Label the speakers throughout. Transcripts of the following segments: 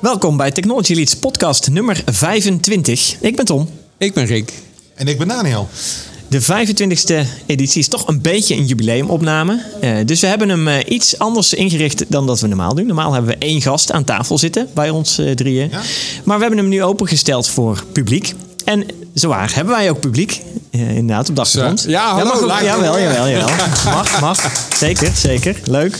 Speaker 1: Welkom bij Technology Leads podcast nummer 25. Ik ben Tom.
Speaker 2: Ik ben Rick.
Speaker 3: En ik ben Daniel.
Speaker 1: De 25e editie is toch een beetje een jubileumopname. Eh, dus we hebben hem eh, iets anders ingericht dan dat we normaal doen. Normaal hebben we één gast aan tafel zitten bij ons eh, drieën.
Speaker 3: Ja.
Speaker 1: Maar we hebben hem nu opengesteld voor publiek. En zowaar, hebben wij ook publiek? Eh, inderdaad, op de achtergrond.
Speaker 2: ja, hallo,
Speaker 1: mag ook-
Speaker 2: laat ik
Speaker 1: jawel,
Speaker 2: horen.
Speaker 1: jawel, jawel. Mag, mag. Zeker, zeker. Leuk.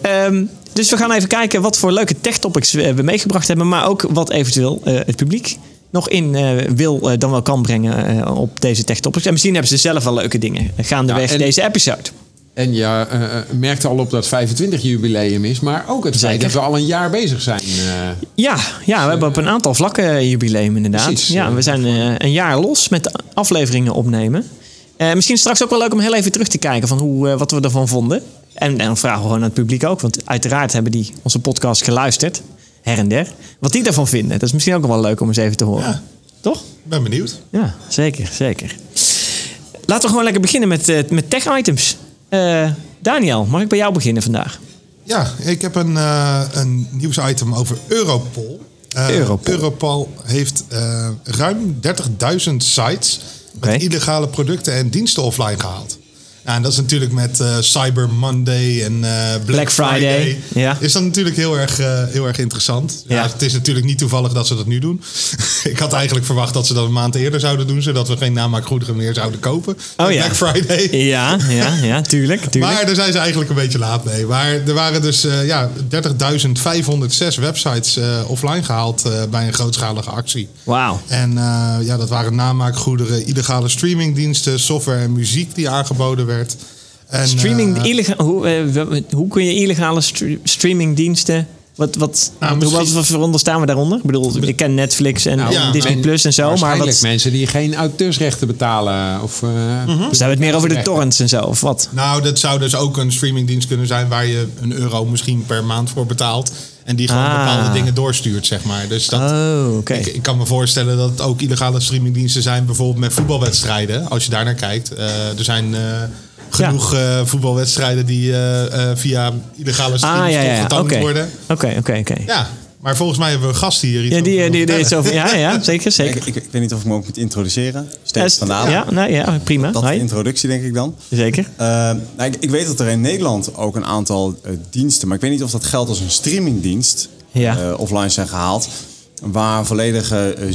Speaker 1: Ehm, dus we gaan even kijken wat voor leuke tech-topics we, we meegebracht hebben. Maar ook wat eventueel eh, het publiek nog in eh, wil eh, dan wel kan brengen eh, op deze tech-topics. En misschien hebben ze zelf wel leuke dingen gaandeweg
Speaker 2: Ja, en-
Speaker 1: deze episode.
Speaker 2: En je eh, eh, merkt al op dat 25 jubileum is, maar ook het feit
Speaker 1: Zeker.
Speaker 2: dat we al een jaar bezig zijn. eh.
Speaker 1: Ja, ja, we hebben op een aantal vlakken eh, jubileum inderdaad.
Speaker 2: Precies,
Speaker 1: ja,
Speaker 2: eh,
Speaker 1: we zijn eh, een jaar los met de afleveringen opnemen. Eh, misschien straks ook wel leuk om heel even terug te kijken van hoe, eh, wat we ervan vonden. En dan vragen we gewoon aan het publiek ook. Want uiteraard hebben die onze podcast geluisterd. Her en der. Wat die daarvan vinden. Dat is misschien ook wel leuk om eens even te horen.
Speaker 3: Ja.
Speaker 1: Toch?
Speaker 3: Ik ben benieuwd.
Speaker 1: Ja, zeker, zeker. Laten we gewoon lekker beginnen met, eh, met tech-items. Eh, Daniel, mag ik bij jou beginnen vandaag?
Speaker 3: Ja, ik heb een, eh, een nieuwsitem over Europol. Eh,
Speaker 1: Europol.
Speaker 3: Europol heeft eh, ruim 30.000 sites
Speaker 1: Oké.
Speaker 3: met illegale producten en diensten offline gehaald. Ja, en dat is natuurlijk met eh, Cyber Monday en eh, Black,
Speaker 1: Black Friday,
Speaker 3: Friday.
Speaker 1: ja.
Speaker 3: Is dat natuurlijk heel erg, eh, heel erg interessant. Ja.
Speaker 1: Ja.
Speaker 3: het is natuurlijk niet toevallig dat ze dat nu doen. ik had eigenlijk verwacht dat ze dat een maand eerder zouden doen, zodat we geen namaakgoederen meer zouden kopen.
Speaker 1: Oh
Speaker 3: met
Speaker 1: ja.
Speaker 3: Black Friday.
Speaker 1: Ja, ja, ja, tuurlijk. tuurlijk.
Speaker 3: Maar daar zijn ze eigenlijk een beetje laat mee. Maar er waren dus eh, ja, 30.506 websites eh, offline gehaald eh, bij een grootschalige actie.
Speaker 1: Wauw.
Speaker 3: En eh, ja, dat waren namaakgoederen, illegale streamingdiensten, software en muziek die aangeboden werd. En,
Speaker 1: Streaming,
Speaker 3: eh,
Speaker 1: illega- hoe, eh, we- hoe kun je illegale stre- streamingdiensten... Wat, wat,
Speaker 3: Nou,
Speaker 1: hoe-
Speaker 3: misschien-
Speaker 1: wat, wat veronderstaan we daaronder? Ik bedoel, ik ken Netflix en
Speaker 2: Nou,
Speaker 3: ja,
Speaker 1: Disney
Speaker 2: men-
Speaker 1: Plus en zo. Maar
Speaker 2: waarschijnlijk
Speaker 1: wat, ze
Speaker 2: mensen die geen auteursrechten betalen. Of, eh,
Speaker 3: Mhm.
Speaker 1: hebben het meer over de torrents en zo, of wat?
Speaker 3: nou, dat zou dus ook een streamingdienst kunnen zijn waar je een euro misschien per maand voor betaalt. En die gewoon
Speaker 1: Ah.
Speaker 3: bepaalde dingen doorstuurt, zeg maar. Dus dat,
Speaker 1: Oh, oké.
Speaker 3: Ik, ik kan me voorstellen dat het ook illegale streamingdiensten zijn, bijvoorbeeld met voetbalwedstrijden. Als je daar naar kijkt, Eh, er zijn eh, genoeg eh, voetbalwedstrijden die eh, eh, via illegale
Speaker 1: Ah,
Speaker 3: streamers
Speaker 1: ja, ja, ja.
Speaker 3: opgetoond
Speaker 1: Oké,
Speaker 3: worden.
Speaker 1: oké, oké. oké.
Speaker 3: Ja, maar volgens mij hebben we een gast hier. Iets
Speaker 1: Ja, die, eh,
Speaker 3: over
Speaker 1: die, die,
Speaker 3: wil
Speaker 1: is over, ja, ja, zeker,
Speaker 4: Ik,
Speaker 1: zeker.
Speaker 4: ik, ik weet niet of ik me ook moet introduceren. Steeds
Speaker 1: Est-
Speaker 4: van Dalen.
Speaker 1: ja, nou, ja, prima.
Speaker 4: Dat is de
Speaker 1: Hi.
Speaker 4: introductie, denk ik dan.
Speaker 1: Zeker.
Speaker 4: Eh, nou, ik, ik weet dat er in Nederland ook een aantal eh, diensten, maar ik weet niet of dat geldt als een streamingdienst,
Speaker 1: Ja.
Speaker 4: eh, offline zijn gehaald. Waar volledige eh,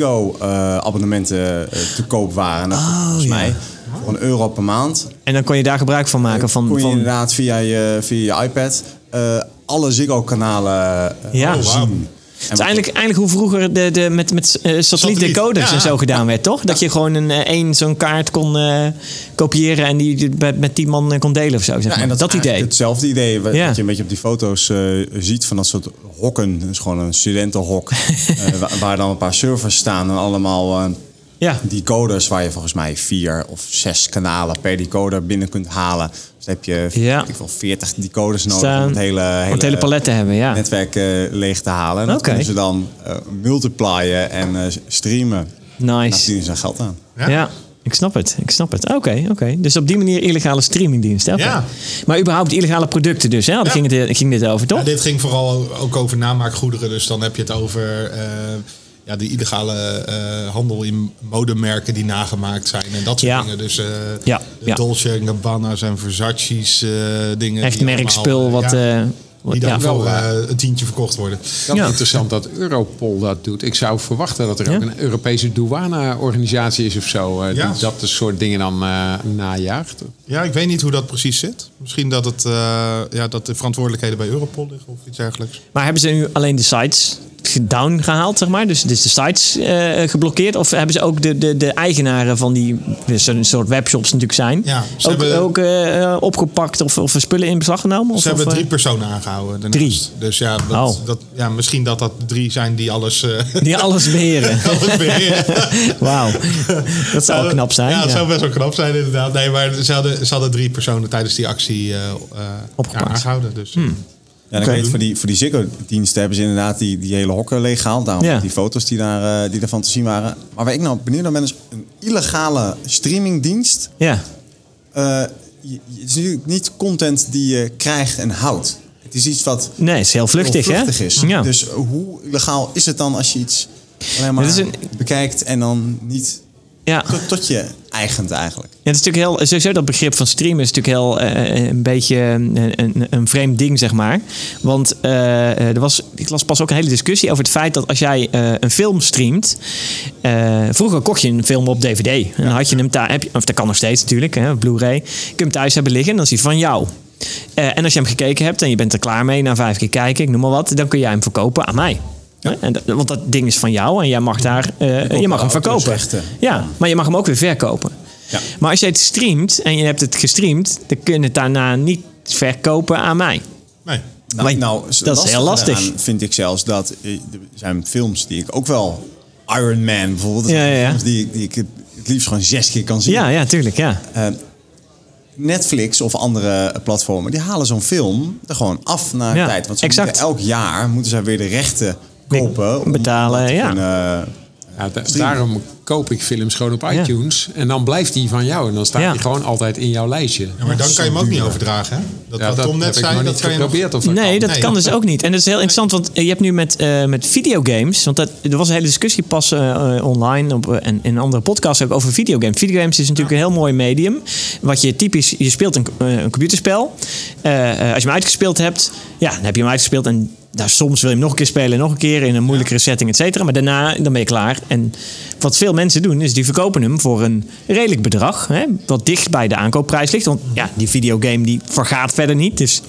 Speaker 4: Ziggo-abonnementen eh, te koop waren. Dat volgens
Speaker 1: Oh, ja.
Speaker 4: mij voor een euro per maand.
Speaker 1: En dan kon je daar gebruik van maken. Van,
Speaker 4: kon je
Speaker 1: van,
Speaker 4: inderdaad via je, via je iPad eh, alle Ziggo-kanalen eh,
Speaker 1: Ja.
Speaker 3: Oh, wauw.
Speaker 4: zien.
Speaker 1: het is
Speaker 4: En
Speaker 1: eigenlijk, eigenlijk hoe vroeger de, de, met, met eh, satellietdecoders
Speaker 3: ja.
Speaker 1: en zo gedaan werd, toch? Dat je gewoon een, eh, één zo'n kaart kon eh, kopiëren en die die met, met die man eh, kon delen of zo. Zeg maar.
Speaker 4: Ja, en
Speaker 1: dat
Speaker 4: dat, is
Speaker 1: idee.
Speaker 4: eigenlijk Hetzelfde idee wat
Speaker 1: Ja.
Speaker 4: wat je een beetje op die foto's eh, ziet van dat soort hokken. Dat is gewoon een studentenhok eh, wa- waar dan een paar servers staan en allemaal eh,
Speaker 1: Ja.
Speaker 4: decoders waar je volgens mij vier of zes kanalen per decoder binnen kunt halen. Dus dan heb je
Speaker 1: Ja.
Speaker 4: weet ik veel, 40 decoders nodig
Speaker 1: Staan-
Speaker 4: om het hele,
Speaker 1: Om het hele palet te hebben, ja.
Speaker 4: netwerk eh, leeg te halen. En dat
Speaker 1: Oké.
Speaker 4: kunnen ze dan eh, multiplyen en eh, streamen. En daar
Speaker 1: Nice.
Speaker 4: verdienen ze geld aan.
Speaker 3: Ja.
Speaker 1: Ja, ik snap het. Ik snap het. Oké, oké. Dus op die manier illegale streamingdiensten. oké.
Speaker 3: Ja.
Speaker 1: Maar überhaupt illegale producten dus. Hè? Daar
Speaker 3: Ja.
Speaker 1: ging, het, ging dit over, toch?
Speaker 3: Ja, dit ging vooral ook over namaakgoederen. Dus dan heb je het over eh, ja, de illegale eh, handel in modemerken die nagemaakt zijn. En dat soort
Speaker 1: Ja.
Speaker 3: dingen. Dus eh,
Speaker 1: Ja,
Speaker 3: de
Speaker 1: ja.
Speaker 3: Dolce en Gabbana's en Versace's eh, dingen.
Speaker 1: Echt
Speaker 3: die
Speaker 1: merkspul
Speaker 3: allemaal,
Speaker 1: wat...
Speaker 3: eh, ja,
Speaker 1: eh, wat-
Speaker 3: die
Speaker 1: ja.
Speaker 3: dan voor
Speaker 2: Wel,
Speaker 3: eh, een tientje verkocht worden.
Speaker 2: wel
Speaker 1: Ja.
Speaker 2: interessant dat Europol dat doet. Ik zou verwachten dat er ook
Speaker 1: Ja.
Speaker 2: een Europese douaneorganisatie is of zo. eh,
Speaker 3: Ja.
Speaker 2: Die dat soort dingen dan eh, najaagt.
Speaker 3: Ja, ik weet niet hoe dat precies zit. Misschien dat, het, eh, ja, dat de verantwoordelijkheden bij Europol liggen of iets dergelijks.
Speaker 1: Maar hebben ze nu alleen de sites down gehaald, zeg maar? Dus, dus de sites eh, geblokkeerd? Of hebben ze ook de, de, de eigenaren van die dus een soort webshops natuurlijk zijn...
Speaker 3: Ja, ze
Speaker 1: ook,
Speaker 3: hebben-
Speaker 1: ook eh, opgepakt of, of spullen in beslag genomen? Of,
Speaker 3: Ze hebben
Speaker 1: of, eh,
Speaker 3: drie personen aangehouden. daarnaast.
Speaker 1: Drie?
Speaker 3: Dus ja, dat,
Speaker 1: Oh.
Speaker 3: dat, ja, misschien dat dat drie zijn die alles, eh
Speaker 1: Die alles beheren.
Speaker 3: alles beheren.
Speaker 1: Wauw, dat zou
Speaker 3: Ja,
Speaker 1: knap zijn.
Speaker 3: Ja, dat
Speaker 1: ja.
Speaker 3: zou best wel knap zijn inderdaad. Nee, maar ze hadden, ze hadden drie personen tijdens die actie eh, eh,
Speaker 1: Opgepakt. Hmm.
Speaker 3: ja, aangehouden. Dus.
Speaker 4: Ja, dan
Speaker 1: Oké.
Speaker 4: weet, voor die, voor die Ziggo-diensten hebben ze inderdaad die, die hele hokken leeggehaald. Daarom
Speaker 1: Ja.
Speaker 4: die foto's die, daar, eh die daarvan te zien waren. Maar waar ik nou benieuwd naar ben, is een illegale streamingdienst.
Speaker 1: Ja.
Speaker 4: Eh, je- je- het is natuurlijk niet content die je krijgt en houdt. Ik Het is iets wat
Speaker 1: Nee, het is heel vluchtig,
Speaker 4: heel
Speaker 1: hè?
Speaker 4: vluchtig is.
Speaker 1: Ja.
Speaker 4: Dus hoe legaal is het dan als je iets alleen maar
Speaker 1: Het is een-
Speaker 4: bekijkt en dan niet
Speaker 1: ja.
Speaker 4: tot, tot je eigent eigenlijk?
Speaker 1: Ja, het is natuurlijk heel, sowieso dat begrip van streamen is natuurlijk heel eh, een beetje een, een, een vreemd ding, zeg maar. Want eh, er was, ik las pas ook een hele discussie over het feit dat als jij eh, een film streamt. eh, vroeger kocht je een film op DVD. En dan had je hem thuis, of dat kan nog steeds natuurlijk, hè, Blu-ray. Kun je hem thuis hebben liggen en dan is hij van jou. Eh, en als je hem gekeken hebt en je bent er klaar mee, na vijf keer kijken, ik noem maar wat, dan kun jij hem verkopen aan mij. Hè? En dat- want dat ding is van jou en jij mag daar, eh, je mag hem
Speaker 4: auto is
Speaker 1: verkopen.
Speaker 4: echt, eh,
Speaker 1: Ja, maar je mag hem ook weer verkopen.
Speaker 4: Ja.
Speaker 1: Maar als jij het streamt en je hebt het gestreamd, dan kun je het daarna niet verkopen aan mij.
Speaker 3: Nee.
Speaker 4: Nou, nou
Speaker 1: dat is heel
Speaker 4: lastig
Speaker 1: lastig.
Speaker 4: daaraan vind ik zelfs dat eh, er zijn films die ik ook wel Iron Man bijvoorbeeld, dat
Speaker 1: Ja,
Speaker 4: zijn
Speaker 1: ja, ja.
Speaker 4: films die, die ik het het liefst gewoon zes keer kan zien. Eh,
Speaker 1: Ja, ja, tuurlijk, ja.
Speaker 4: Netflix of andere eh, platformen, die halen zo'n film er gewoon af na
Speaker 1: Ja,
Speaker 4: tijd. Want ze
Speaker 1: exact.
Speaker 4: moeten elk jaar moeten zij weer de rechten kopen. om
Speaker 1: betalen,
Speaker 4: dat te
Speaker 1: ja.
Speaker 4: kunnen- eh,
Speaker 2: Ja, da- daarom koop ik films gewoon op
Speaker 1: Ja.
Speaker 2: iTunes. En dan blijft die van jou. En dan staat
Speaker 1: Ja.
Speaker 2: die gewoon altijd in jouw lijstje.
Speaker 3: Ja, maar dan kan je hem ook niet overdragen, hè? Dat
Speaker 2: Ja,
Speaker 3: wat
Speaker 2: dat
Speaker 3: Tom net
Speaker 2: heb ik
Speaker 3: zei,
Speaker 2: nog
Speaker 3: dat
Speaker 2: niet
Speaker 3: kan je nog...
Speaker 2: geprobeerd. Of dat
Speaker 1: Nee,
Speaker 2: kan.
Speaker 1: dat
Speaker 3: Nee.
Speaker 1: kan dus ook niet. En dat is heel interessant, want eh, je hebt nu met, eh, met videogames... want dat, er was een hele discussie pas eh, eh, online op, eh, en in andere podcasts ook over videogames. Videogames is natuurlijk een heel mooi medium. Wat je typisch... Je speelt een, eh, een computerspel. Eh, eh, als je hem uitgespeeld hebt, ja, dan heb je hem uitgespeeld... en nou, soms wil je hem nog een keer spelen, nog een keer... in een moeilijkere setting, et cetera. Maar daarna dan ben je klaar. En wat veel mensen doen, is die verkopen hem voor een redelijk bedrag... Hè, wat dicht bij de aankoopprijs ligt. Want ja, die videogame die vergaat verder niet, dus...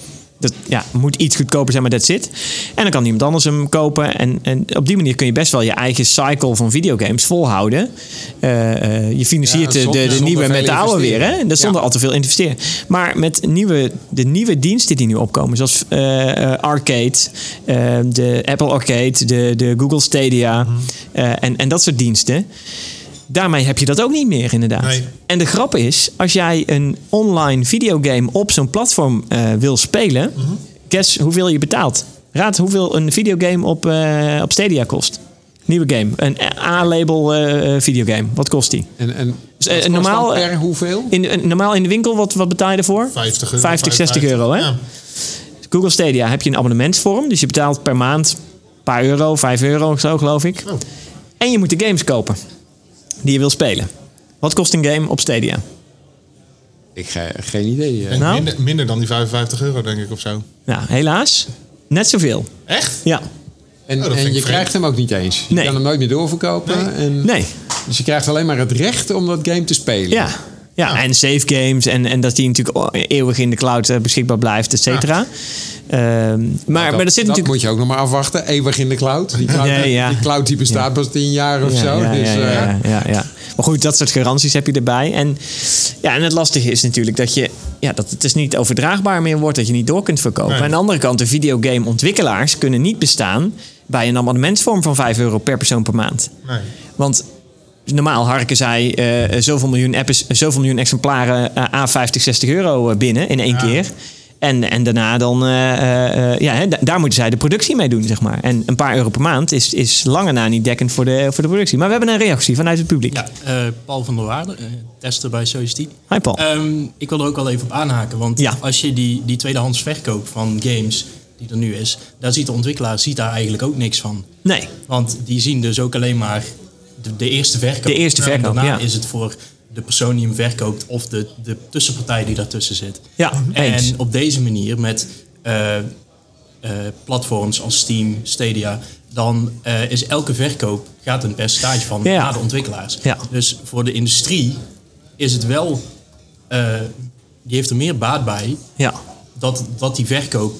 Speaker 1: Dat ja, moet iets goedkoper zijn, maar dat zit. En dan kan iemand anders hem kopen. En, en op die manier kun je best wel je eigen cycle van videogames volhouden. Eh, eh, je financiert de-
Speaker 2: Ja,
Speaker 1: de,
Speaker 2: zonder-
Speaker 1: de
Speaker 2: zonder
Speaker 1: nieuwe met
Speaker 2: veel
Speaker 1: de oude weer.
Speaker 2: investeren.
Speaker 1: Hè? Dat zonder
Speaker 2: Ja.
Speaker 1: al te veel investeren. Maar met nieuwe, de nieuwe diensten die nu opkomen, zoals eh, eh, Arcade, eh, de Apple Arcade, de, de Google Stadia eh, en, en dat soort diensten. Daarmee heb je dat ook niet meer, inderdaad.
Speaker 3: Nee.
Speaker 1: En de grap is, als jij een online videogame op zo'n platform eh, wil spelen, guess hoeveel je betaalt. Raad hoeveel een videogame op, eh, op Stadia kost. Nieuwe game. Een A-label eh, eh, videogame. Wat kost die?
Speaker 2: En, en
Speaker 1: Dus,
Speaker 2: dat
Speaker 1: eh,
Speaker 2: kost
Speaker 1: normaal,
Speaker 2: dan per
Speaker 1: eh,
Speaker 2: hoeveel?
Speaker 1: In, in- normaal in de winkel, wat, wat betaal je ervoor?
Speaker 3: 50 euro.
Speaker 1: 50, 60 euro, hè?
Speaker 3: Ja.
Speaker 1: Google Stadia heb je een abonnementsvorm. Dus je betaalt per maand een paar euro, 5 euro of zo, geloof ik.
Speaker 3: Oh.
Speaker 1: En je moet de games kopen die je wil spelen. Wat kost een game op Stadia?
Speaker 2: Ik ge- geen idee. eh.
Speaker 3: En
Speaker 1: Nou?
Speaker 3: minder, minder dan die 55 euro, denk ik, of zo.
Speaker 1: Nou, helaas. Net zoveel.
Speaker 3: Echt?
Speaker 1: Ja.
Speaker 2: En,
Speaker 3: dat
Speaker 2: en
Speaker 3: vind ik
Speaker 2: je
Speaker 3: vreemd.
Speaker 2: krijgt hem ook niet eens. Je
Speaker 1: Nee.
Speaker 2: kan hem nooit meer doorverkopen. En,
Speaker 1: Nee.
Speaker 2: Dus je krijgt alleen maar het recht om dat game te spelen.
Speaker 1: Ja. Ja, en save games en, en dat die natuurlijk eeuwig in de cloud eh, beschikbaar blijft, et cetera. Ehm, maar, maar
Speaker 2: dat,
Speaker 1: dat zit
Speaker 2: dat
Speaker 1: natuurlijk...
Speaker 2: moet je ook nog maar afwachten. Eeuwig in de cloud. Die cloud,
Speaker 1: Nee, ja.
Speaker 2: die cloud die bestaat pas tien jaar of zo.
Speaker 1: Ja,
Speaker 2: dus,
Speaker 1: ja,
Speaker 2: eh,
Speaker 1: ja, ja, ja. Maar goed, dat soort garanties heb je erbij. En, ja, en het lastige is natuurlijk dat, je, ja, dat het dus niet overdraagbaar meer wordt. Dat je niet door kunt verkopen.
Speaker 3: Nee.
Speaker 1: Aan de andere kant, de videogameontwikkelaars kunnen niet bestaan... bij een abonnementsvorm van 5 euro per persoon per maand.
Speaker 3: Nee.
Speaker 1: Want normaal harken zij eh, zoveel, miljoen apps, zoveel miljoen exemplaren eh, aan 50, 60 euro eh, binnen in één
Speaker 3: Ja.
Speaker 1: keer. En, en daarna dan, eh, eh, eh, ja, hè, da- daar moeten zij de productie mee doen, zeg maar. En een paar euro per maand is, is lange na niet dekkend voor de, voor de productie. Maar we hebben een reactie vanuit het publiek.
Speaker 5: Ja, eh, Paul van der Waarde, eh, tester bij Society.
Speaker 1: Hi Paul.
Speaker 5: Ehm, ik wil er ook al even op aanhaken, want
Speaker 1: Ja.
Speaker 5: als je die, die tweedehands verkoop van games die er nu is, daar ziet de ontwikkelaar ziet daar eigenlijk ook niks van.
Speaker 1: nee,
Speaker 5: Want die zien dus ook alleen maar de, de eerste verkoop.
Speaker 1: De eerste
Speaker 5: En
Speaker 1: verkoop,
Speaker 5: daarna
Speaker 1: ja.
Speaker 5: is het voor de persoon die hem verkoopt of de, de tussenpartij die daartussen zit.
Speaker 1: Ja, eens.
Speaker 5: En op deze manier met eh, eh, platforms als Steam, Stadia, dan eh, is elke verkoop gaat een percentage van
Speaker 1: Ja.
Speaker 5: naar de ontwikkelaars.
Speaker 1: Ja.
Speaker 5: Dus voor de industrie is het wel, eh, die heeft er meer baat bij
Speaker 1: ja.
Speaker 5: dat, dat die verkoop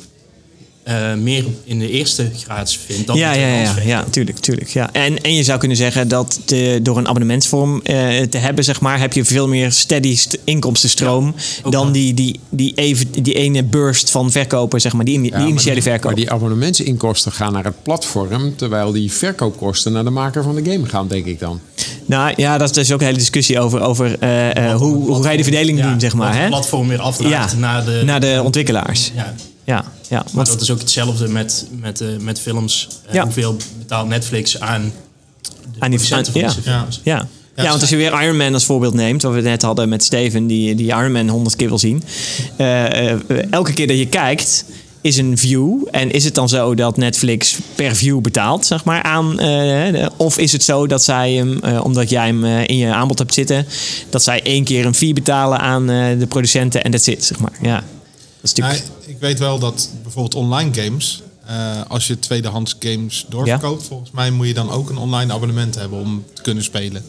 Speaker 5: eh, meer in de eerste graads vindt dan
Speaker 1: Ja,
Speaker 5: de
Speaker 1: ja,
Speaker 5: tweedehands
Speaker 1: ja,
Speaker 5: verkoop.
Speaker 1: ja, tuurlijk, tuurlijk. Ja. En, en je zou kunnen zeggen dat de, door een abonnementsvorm eh, te hebben, zeg maar, heb je veel meer steady st- inkomstenstroom
Speaker 5: ook
Speaker 1: dan
Speaker 5: waar.
Speaker 1: die, die, die, even, die ene burst van verkopen, zeg maar, die, in- die
Speaker 2: Ja, maar
Speaker 1: initiële
Speaker 2: die-
Speaker 1: verkoop.
Speaker 2: Maar die abonnementsinkomsten gaan naar het platform, terwijl die verkoopkosten naar de maker van de game gaan, denk ik dan.
Speaker 1: Nou ja, dat is dus ook een hele discussie over, over eh, eh, hoe, hoe ga je de verdeling
Speaker 5: Ja,
Speaker 1: doen, zeg maar.
Speaker 5: dat het
Speaker 1: Hè?
Speaker 5: platform weer
Speaker 1: Ja, Nou,
Speaker 5: afdraagt naar de...
Speaker 1: naar de ontwikkelaars.
Speaker 5: ja.
Speaker 1: Ja, ja.
Speaker 5: Maar
Speaker 1: Want,
Speaker 5: dat is ook hetzelfde met, met, eh, met films. Eh,
Speaker 1: Ja.
Speaker 5: Hoeveel betaalt Netflix aan de Dus
Speaker 1: Aan die-
Speaker 5: producenten van
Speaker 1: aan-
Speaker 5: deze
Speaker 1: ja.
Speaker 5: films?
Speaker 1: ja. Ja,
Speaker 3: Ja,
Speaker 1: want als
Speaker 5: dus
Speaker 1: je weer Iron Man als voorbeeld neemt, wat we net hadden met Steven, die, die Iron Man honderd keer wil zien. eh, eh, elke keer dat je kijkt, is een view. En is het dan zo dat Netflix per view betaalt, zeg maar, aan? eh, de- of is het zo dat zij hem, eh, omdat jij hem eh, in je aanbod hebt zitten, dat zij één keer een fee betalen aan eh, de producenten en that's it, zeg maar. Ja, dat is natuurlijk...
Speaker 3: Nee, ik weet wel dat bijvoorbeeld online games, eh, als je tweedehands games doorverkoopt, volgens mij moet je dan ook een online abonnement hebben om te kunnen spelen.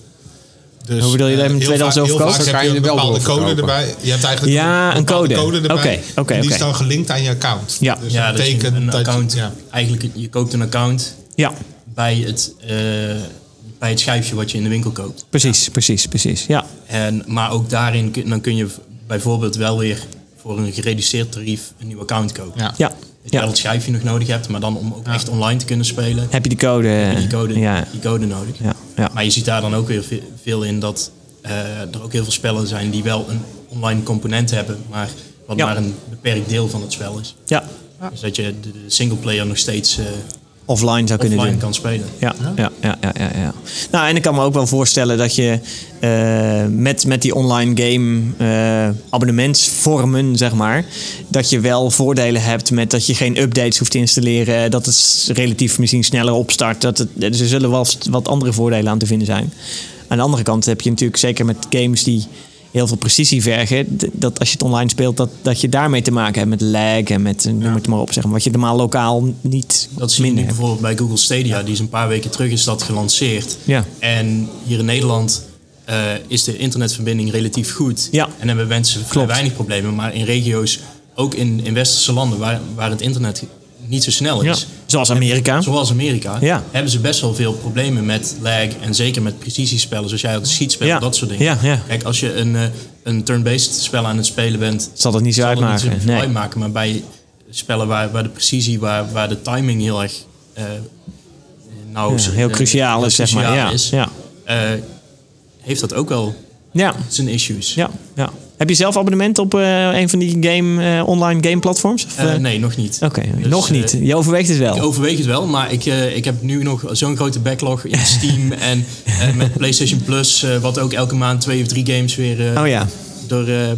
Speaker 3: Dus,
Speaker 1: Hoe bedoel je dat je
Speaker 3: eh,
Speaker 1: hem
Speaker 3: heel
Speaker 1: tweedehands
Speaker 3: vaak- heel
Speaker 1: doorverkoopt?
Speaker 2: Dan
Speaker 3: vaak heb
Speaker 2: kan
Speaker 3: je
Speaker 2: je hem
Speaker 3: een
Speaker 2: wel
Speaker 3: bepaalde code
Speaker 2: doorverkopen.
Speaker 3: erbij. Je hebt eigenlijk
Speaker 1: Ja, een
Speaker 3: bepaalde
Speaker 1: code.
Speaker 3: erbij.
Speaker 1: Oké, oké,
Speaker 3: En Die is
Speaker 1: oké.
Speaker 3: dan gelinkt aan je account.
Speaker 1: Ja.
Speaker 3: dus
Speaker 5: Ja,
Speaker 3: dat
Speaker 5: dat je
Speaker 3: betekent
Speaker 5: een
Speaker 3: dat je-
Speaker 5: account,
Speaker 3: ja.
Speaker 5: eigenlijk je koopt een account
Speaker 1: Ja,
Speaker 5: bij het, eh, bij het schijfje wat je in de winkel koopt.
Speaker 1: precies, precies, precies. Ja,
Speaker 5: En, maar ook daarin kun, dan kun je v- bijvoorbeeld wel weer voor een gereduceerd tarief een nieuw account kopen.
Speaker 3: Ja.
Speaker 1: ja,
Speaker 5: Dat je wel
Speaker 1: ja.
Speaker 5: het schijfje nog nodig hebt, maar dan om ook echt online te kunnen spelen, heb
Speaker 1: Heb je die code?
Speaker 5: je die code,
Speaker 1: Eh, Ja,
Speaker 5: die code nodig.
Speaker 1: ja, ja.
Speaker 5: Maar je ziet daar dan ook weer ve- veel in dat eh, er ook heel veel spellen zijn die wel een online component hebben, maar wat
Speaker 1: Ja.
Speaker 5: maar een beperkt deel van het spel is.
Speaker 1: ja.
Speaker 5: Dus dat je de de singleplayer nog steeds eh,
Speaker 1: Offline zou kunnen
Speaker 5: offline
Speaker 1: doen.
Speaker 5: kan spelen.
Speaker 1: Ja, ja, ja, ja, ja, ja. Nou, en ik kan me ook wel voorstellen dat je eh, met, met die online game eh, abonnementsvormen, zeg maar, dat je wel voordelen hebt met dat je geen updates hoeft te installeren, dat het s- relatief misschien sneller opstart. Dat het, dus er zullen wel st- wat andere voordelen aan te vinden zijn. Aan de andere kant heb je natuurlijk zeker met games die heel veel precisie vergen, d- dat als je het online speelt, dat, dat je daarmee te maken hebt met lag en met, eh, noem het maar op, zeg maar, wat je normaal lokaal niet
Speaker 5: Dat zie je
Speaker 1: minder
Speaker 5: nu
Speaker 1: hebt.
Speaker 5: bijvoorbeeld bij Google Stadia, die is een paar weken terug is dat gelanceerd.
Speaker 1: Ja.
Speaker 5: En hier in Nederland eh, is de internetverbinding relatief goed.
Speaker 1: Ja.
Speaker 5: En hebben mensen vrij
Speaker 1: Klopt.
Speaker 5: weinig problemen. Maar in regio's, ook in, in westerse landen waar, waar het internet niet zo snel
Speaker 1: Ja.
Speaker 5: is,
Speaker 1: Zoals Amerika.
Speaker 5: zoals Amerika,
Speaker 1: Ja.
Speaker 5: hebben ze best wel veel problemen met lag. En zeker met precisiespellen, zoals jij had schietspel,
Speaker 1: Ja.
Speaker 5: dat soort dingen.
Speaker 1: Ja, ja.
Speaker 5: Kijk, als je een, eh, een turn-based spel aan het spelen bent,
Speaker 1: zal dat niet zo
Speaker 5: zal het
Speaker 1: uitmaken.
Speaker 5: niet zoveel
Speaker 1: nee.
Speaker 5: uitmaken. Maar bij spellen waar, waar de precisie, waar, waar de timing heel erg eh, nou,
Speaker 1: Ja, heel
Speaker 5: eh,
Speaker 1: cruciaal
Speaker 5: heel
Speaker 1: is, zeg maar.
Speaker 5: cruciaal
Speaker 1: Ja.
Speaker 5: is,
Speaker 1: Ja.
Speaker 5: eh, heeft dat ook wel
Speaker 1: Ja.
Speaker 5: zijn issues.
Speaker 1: Ja. ja. Heb je zelf abonnement op eh, een van die game, eh, online game platforms? Of,
Speaker 5: Eh,
Speaker 1: eh,
Speaker 5: nee, nog niet.
Speaker 1: Oké,
Speaker 5: Dus,
Speaker 1: nog
Speaker 5: eh,
Speaker 1: niet. Je overweegt het wel.
Speaker 5: ik overweeg het wel, maar ik, eh, ik heb nu nog zo'n grote backlog in Steam en eh, met PlayStation Plus, eh, wat ook elke maand twee of drie games weer eh,
Speaker 1: oh ja.
Speaker 5: door eh, eh,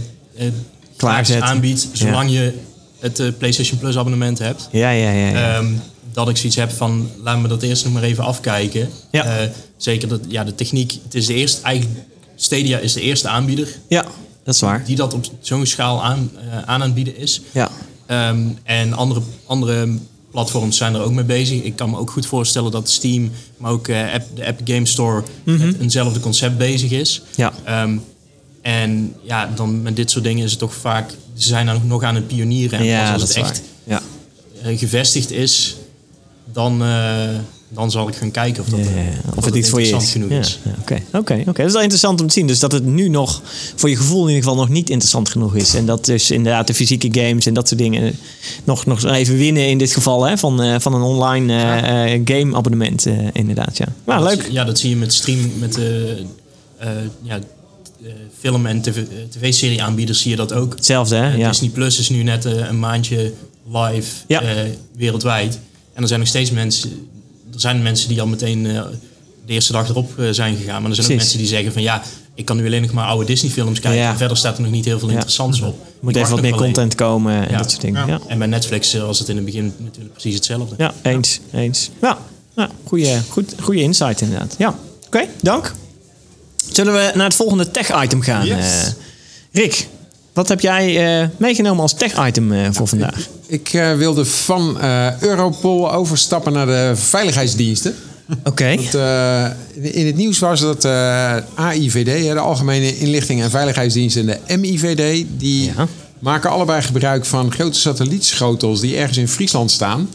Speaker 1: Klaarzet.
Speaker 5: aanbiedt, zolang je het eh, PlayStation Plus abonnement hebt.
Speaker 1: Ja, ja, ja. ja.
Speaker 5: Ehm, dat ik zoiets heb van, laat me dat eerst nog maar even afkijken.
Speaker 1: Ja.
Speaker 5: Eh, zeker dat, ja, de techniek, het is de eerste, eigenlijk, Stadia is de eerste aanbieder
Speaker 1: ja, dat is waar.
Speaker 5: die dat op zo'n schaal aan, eh, aan aanbieden is.
Speaker 1: Ja.
Speaker 5: Ehm, en andere, andere platforms zijn er ook mee bezig. Ik kan me ook goed voorstellen dat Steam, maar ook eh, App- de App Game Store, met eenzelfde concept bezig is.
Speaker 1: Mhm. Ja.
Speaker 5: Ehm, en ja, dan met dit soort dingen is het toch vaak, ze zijn dan nog aan het pionieren. En pas
Speaker 1: Ja,
Speaker 5: als
Speaker 1: dat
Speaker 5: het
Speaker 1: is
Speaker 5: echt
Speaker 1: waar. Ja.
Speaker 5: eh, gevestigd is, dan, eh, dan zal ik gaan kijken of dat,
Speaker 1: Ja, ja, ja.
Speaker 5: eh, dat
Speaker 1: Of het iets voor je
Speaker 5: interessant
Speaker 1: is.
Speaker 5: genoeg
Speaker 1: Ja,
Speaker 5: is.
Speaker 1: ja, Oké, oké, oké. Dat is wel interessant om te zien. Dus dat het nu nog, voor je gevoel in ieder geval, nog niet interessant genoeg is. En dat dus inderdaad de fysieke games en dat soort dingen eh, nog, nog even winnen in dit geval hè, van, eh, van een online eh, eh, game abonnement eh, inderdaad. Ja. Nou,
Speaker 5: Dat
Speaker 1: leuk.
Speaker 5: zie- Ja, dat zie je met streaming, met de ja, eh, film- en tv-serie aanbieders zie je dat ook.
Speaker 1: Hetzelfde hè?
Speaker 5: Eh,
Speaker 1: Ja.
Speaker 5: Disney Plus is nu net eh, een maandje live
Speaker 1: Ja.
Speaker 5: eh, wereldwijd. En er zijn nog steeds mensen, er zijn mensen die al meteen eh, de eerste dag erop eh, zijn gegaan. Maar er zijn
Speaker 1: Precies.
Speaker 5: ook mensen die zeggen van ja, ik kan nu alleen nog maar oude Disney films kijken.
Speaker 1: Ja.
Speaker 5: En verder staat er nog niet heel veel
Speaker 1: Ja.
Speaker 5: interessants op. Ik
Speaker 1: Moet
Speaker 5: wacht
Speaker 1: even wat
Speaker 5: nog
Speaker 1: meer
Speaker 5: wel even.
Speaker 1: content komen en
Speaker 5: Ja.
Speaker 1: dat soort dingen.
Speaker 3: Ja.
Speaker 1: Ja,
Speaker 5: En bij Netflix eh, was het in het begin natuurlijk precies hetzelfde.
Speaker 1: ja. eens. eens. Ja, ja goede, goed, goede insight inderdaad. Ja, oké, dank. Zullen we naar het volgende tech-item gaan?
Speaker 3: Yes.
Speaker 1: eh? Rick, wat heb jij eh, meegenomen als tech-item eh, voor vandaag?
Speaker 2: Ik eh, wilde van eh, Europol overstappen naar de veiligheidsdiensten.
Speaker 1: Oké.
Speaker 2: Want, eh, in het nieuws was dat eh AIVD, hè, de Algemene Inlichting en Veiligheidsdienst, en de MIVD, die
Speaker 1: Ja.
Speaker 2: maken allebei gebruik van grote satellietschotels die ergens in Friesland staan.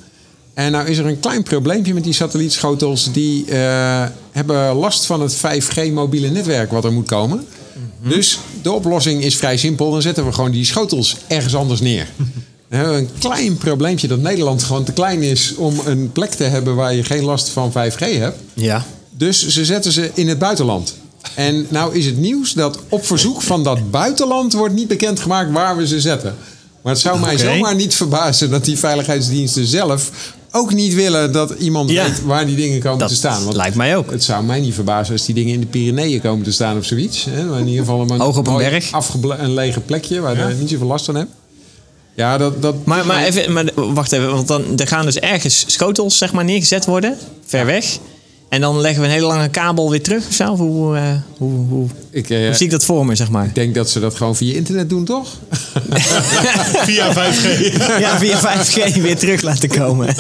Speaker 2: En nou is er een klein probleempje met die satellietschotels. Die eh, hebben last van het 5G mobiele netwerk wat er moet komen. Dus de oplossing is vrij simpel. Dan zetten we gewoon die schotels ergens anders neer. Dan hebben we een klein probleempje dat Nederland gewoon te klein is om een plek te hebben waar je geen last van 5G hebt.
Speaker 1: Ja.
Speaker 2: Dus ze zetten ze in het buitenland. En nou is het nieuws dat op verzoek van dat buitenland wordt niet bekendgemaakt waar we ze zetten. Maar het zou mij
Speaker 1: Oké.
Speaker 2: zomaar niet verbazen dat die veiligheidsdiensten zelf ook niet willen dat iemand
Speaker 1: Ja.
Speaker 2: weet waar die dingen komen
Speaker 1: Dat
Speaker 2: te staan.
Speaker 1: lijkt mij ook.
Speaker 2: Het zou mij niet verbazen als die dingen in de Pyreneeën komen te staan of zoiets. Hè? Maar in ieder geval een,
Speaker 1: Hoog op een
Speaker 2: mooi
Speaker 1: berg.
Speaker 2: afgebla- een lege plekje waar je niet zoveel last van hebt. Ja, dat, dat,
Speaker 1: Maar, maar, even, maar wacht even, want dan er gaan dus ergens schotels zeg maar, neergezet worden, ver weg. En dan leggen we een hele lange kabel weer terug of zo? Of hoe, eh, hoe, hoe,
Speaker 2: ik, eh,
Speaker 1: hoe zie ik dat voor me, zeg maar?
Speaker 2: ik denk dat ze dat gewoon via internet doen, toch?
Speaker 3: Via 5G.
Speaker 1: Ja, via 5G weer terug laten komen.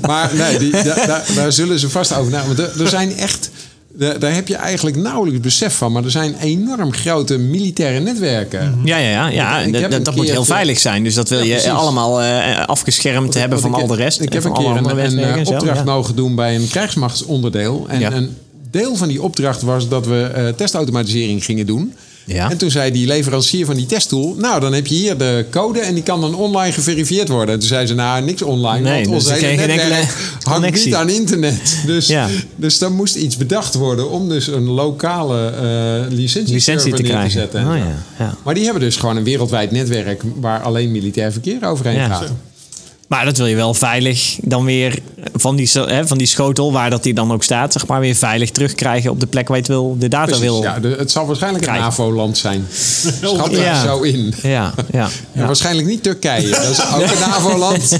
Speaker 2: Maar nee, die, da- da- daar zullen ze vast over na. Want er, er zijn echt. Daar daar heb je eigenlijk nauwelijks besef van. Maar er zijn enorm grote militaire netwerken.
Speaker 1: Ja, ja, ja. ja.
Speaker 2: Ik heb
Speaker 1: Dat,
Speaker 2: een
Speaker 1: dat moet heel
Speaker 2: keertje-
Speaker 1: veilig zijn. Dus dat wil
Speaker 2: Ja,
Speaker 1: je
Speaker 2: precies.
Speaker 1: allemaal eh, afgeschermd hebben
Speaker 2: Want
Speaker 1: van
Speaker 2: ik
Speaker 1: al de
Speaker 2: heb-
Speaker 1: rest.
Speaker 2: Ik heb
Speaker 1: van
Speaker 2: een
Speaker 1: alle
Speaker 2: keer
Speaker 1: andere
Speaker 2: een, een,
Speaker 1: wetwerken
Speaker 2: eh,
Speaker 1: en zo,
Speaker 2: opdracht
Speaker 1: ja.
Speaker 2: mogen doen bij een krijgsmachtsonderdeel. En
Speaker 1: Ja.
Speaker 2: een deel van die opdracht was dat we eh, testautomatisering gingen doen.
Speaker 1: Ja.
Speaker 2: En toen zei die leverancier van die testtool... nou, dan heb je hier de code en die kan dan online geverifieerd worden. En toen zei ze, nou, niks online,
Speaker 1: Nee,
Speaker 2: want
Speaker 1: dus
Speaker 2: ons
Speaker 1: dan
Speaker 2: hele
Speaker 1: kreeg je
Speaker 2: netwerk
Speaker 1: geen enkele
Speaker 2: hangt niet
Speaker 1: connectie.
Speaker 2: aan internet. Dus,
Speaker 1: Ja.
Speaker 2: dus dan moest iets bedacht worden om dus een lokale eh licentie,
Speaker 1: Licentie te
Speaker 2: neer te
Speaker 1: krijgen.
Speaker 2: zetten. en
Speaker 1: Oh,
Speaker 2: zo.
Speaker 1: ja, ja.
Speaker 2: Maar die hebben dus gewoon een wereldwijd netwerk... waar alleen militair verkeer overheen
Speaker 1: Ja.
Speaker 2: gaat.
Speaker 1: Maar dat wil je wel veilig dan weer eh, van die, zo- hè, van die schotel, waar dat die dan ook staat, zeg maar weer veilig terugkrijgen op de plek waar je het wil, de data
Speaker 2: Precies,
Speaker 1: wil.
Speaker 2: ja, de- het zal waarschijnlijk een
Speaker 1: Krijgen. Oh,
Speaker 2: NAVO-land zijn. Schat er
Speaker 1: Ja.
Speaker 2: zo in.
Speaker 1: ja, ja.
Speaker 2: En waarschijnlijk niet Turkije. Dat is ook een NAVO-land.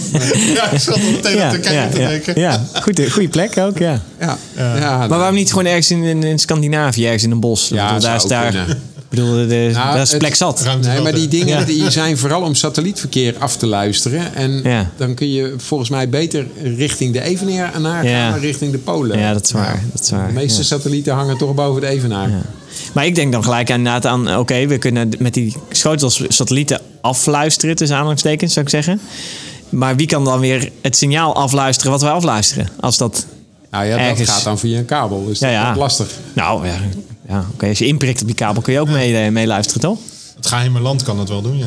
Speaker 3: Ja, ik zat al meteen aan
Speaker 1: Ja,
Speaker 3: Turkije
Speaker 1: ja,
Speaker 3: te
Speaker 1: ja.
Speaker 3: denken.
Speaker 1: Ja, goede, goede plek ook, ja.
Speaker 2: Ja. Ja.
Speaker 1: Maar waarom niet gewoon ergens in, in, in Scandinavië, ergens in een bos?
Speaker 2: Ja,
Speaker 1: Ik bedoel, daar
Speaker 2: zou
Speaker 1: is
Speaker 2: ook
Speaker 1: daar,
Speaker 2: kunnen.
Speaker 1: ik bedoel, de, de-
Speaker 2: Nou,
Speaker 1: daar is
Speaker 2: het-
Speaker 1: plek zat.
Speaker 3: Ruimte
Speaker 2: Nee,
Speaker 3: zat,
Speaker 2: maar die
Speaker 3: hè.
Speaker 2: dingen
Speaker 1: Ja.
Speaker 2: die zijn vooral om satellietverkeer af te luisteren. En
Speaker 1: Ja.
Speaker 2: dan kun je volgens mij beter richting de Evenaar gaan
Speaker 1: Ja.
Speaker 2: dan richting de Polen.
Speaker 1: Ja, dat is waar. Dat is waar
Speaker 2: de meeste
Speaker 1: ja.
Speaker 2: satellieten hangen toch boven de Evenaar.
Speaker 1: Ja. Maar ik denk dan gelijk inderdaad aan, oké, we kunnen d- met die schotels satellieten afluisteren, tussen aanhalingstekens zou ik zeggen. Maar wie kan dan weer het signaal afluisteren wat wij afluisteren? Als dat,
Speaker 2: Nou ja, dat
Speaker 1: Ergens.
Speaker 2: gaat dan via een kabel. Dus
Speaker 1: ja,
Speaker 2: dat
Speaker 1: ja.
Speaker 2: wordt lastig.
Speaker 1: Nou, ja, ja oké, als je inprikt op die kabel kun je ook mee, eh, meeluisteren, toch?
Speaker 3: Het geheime land kan dat wel doen, ja.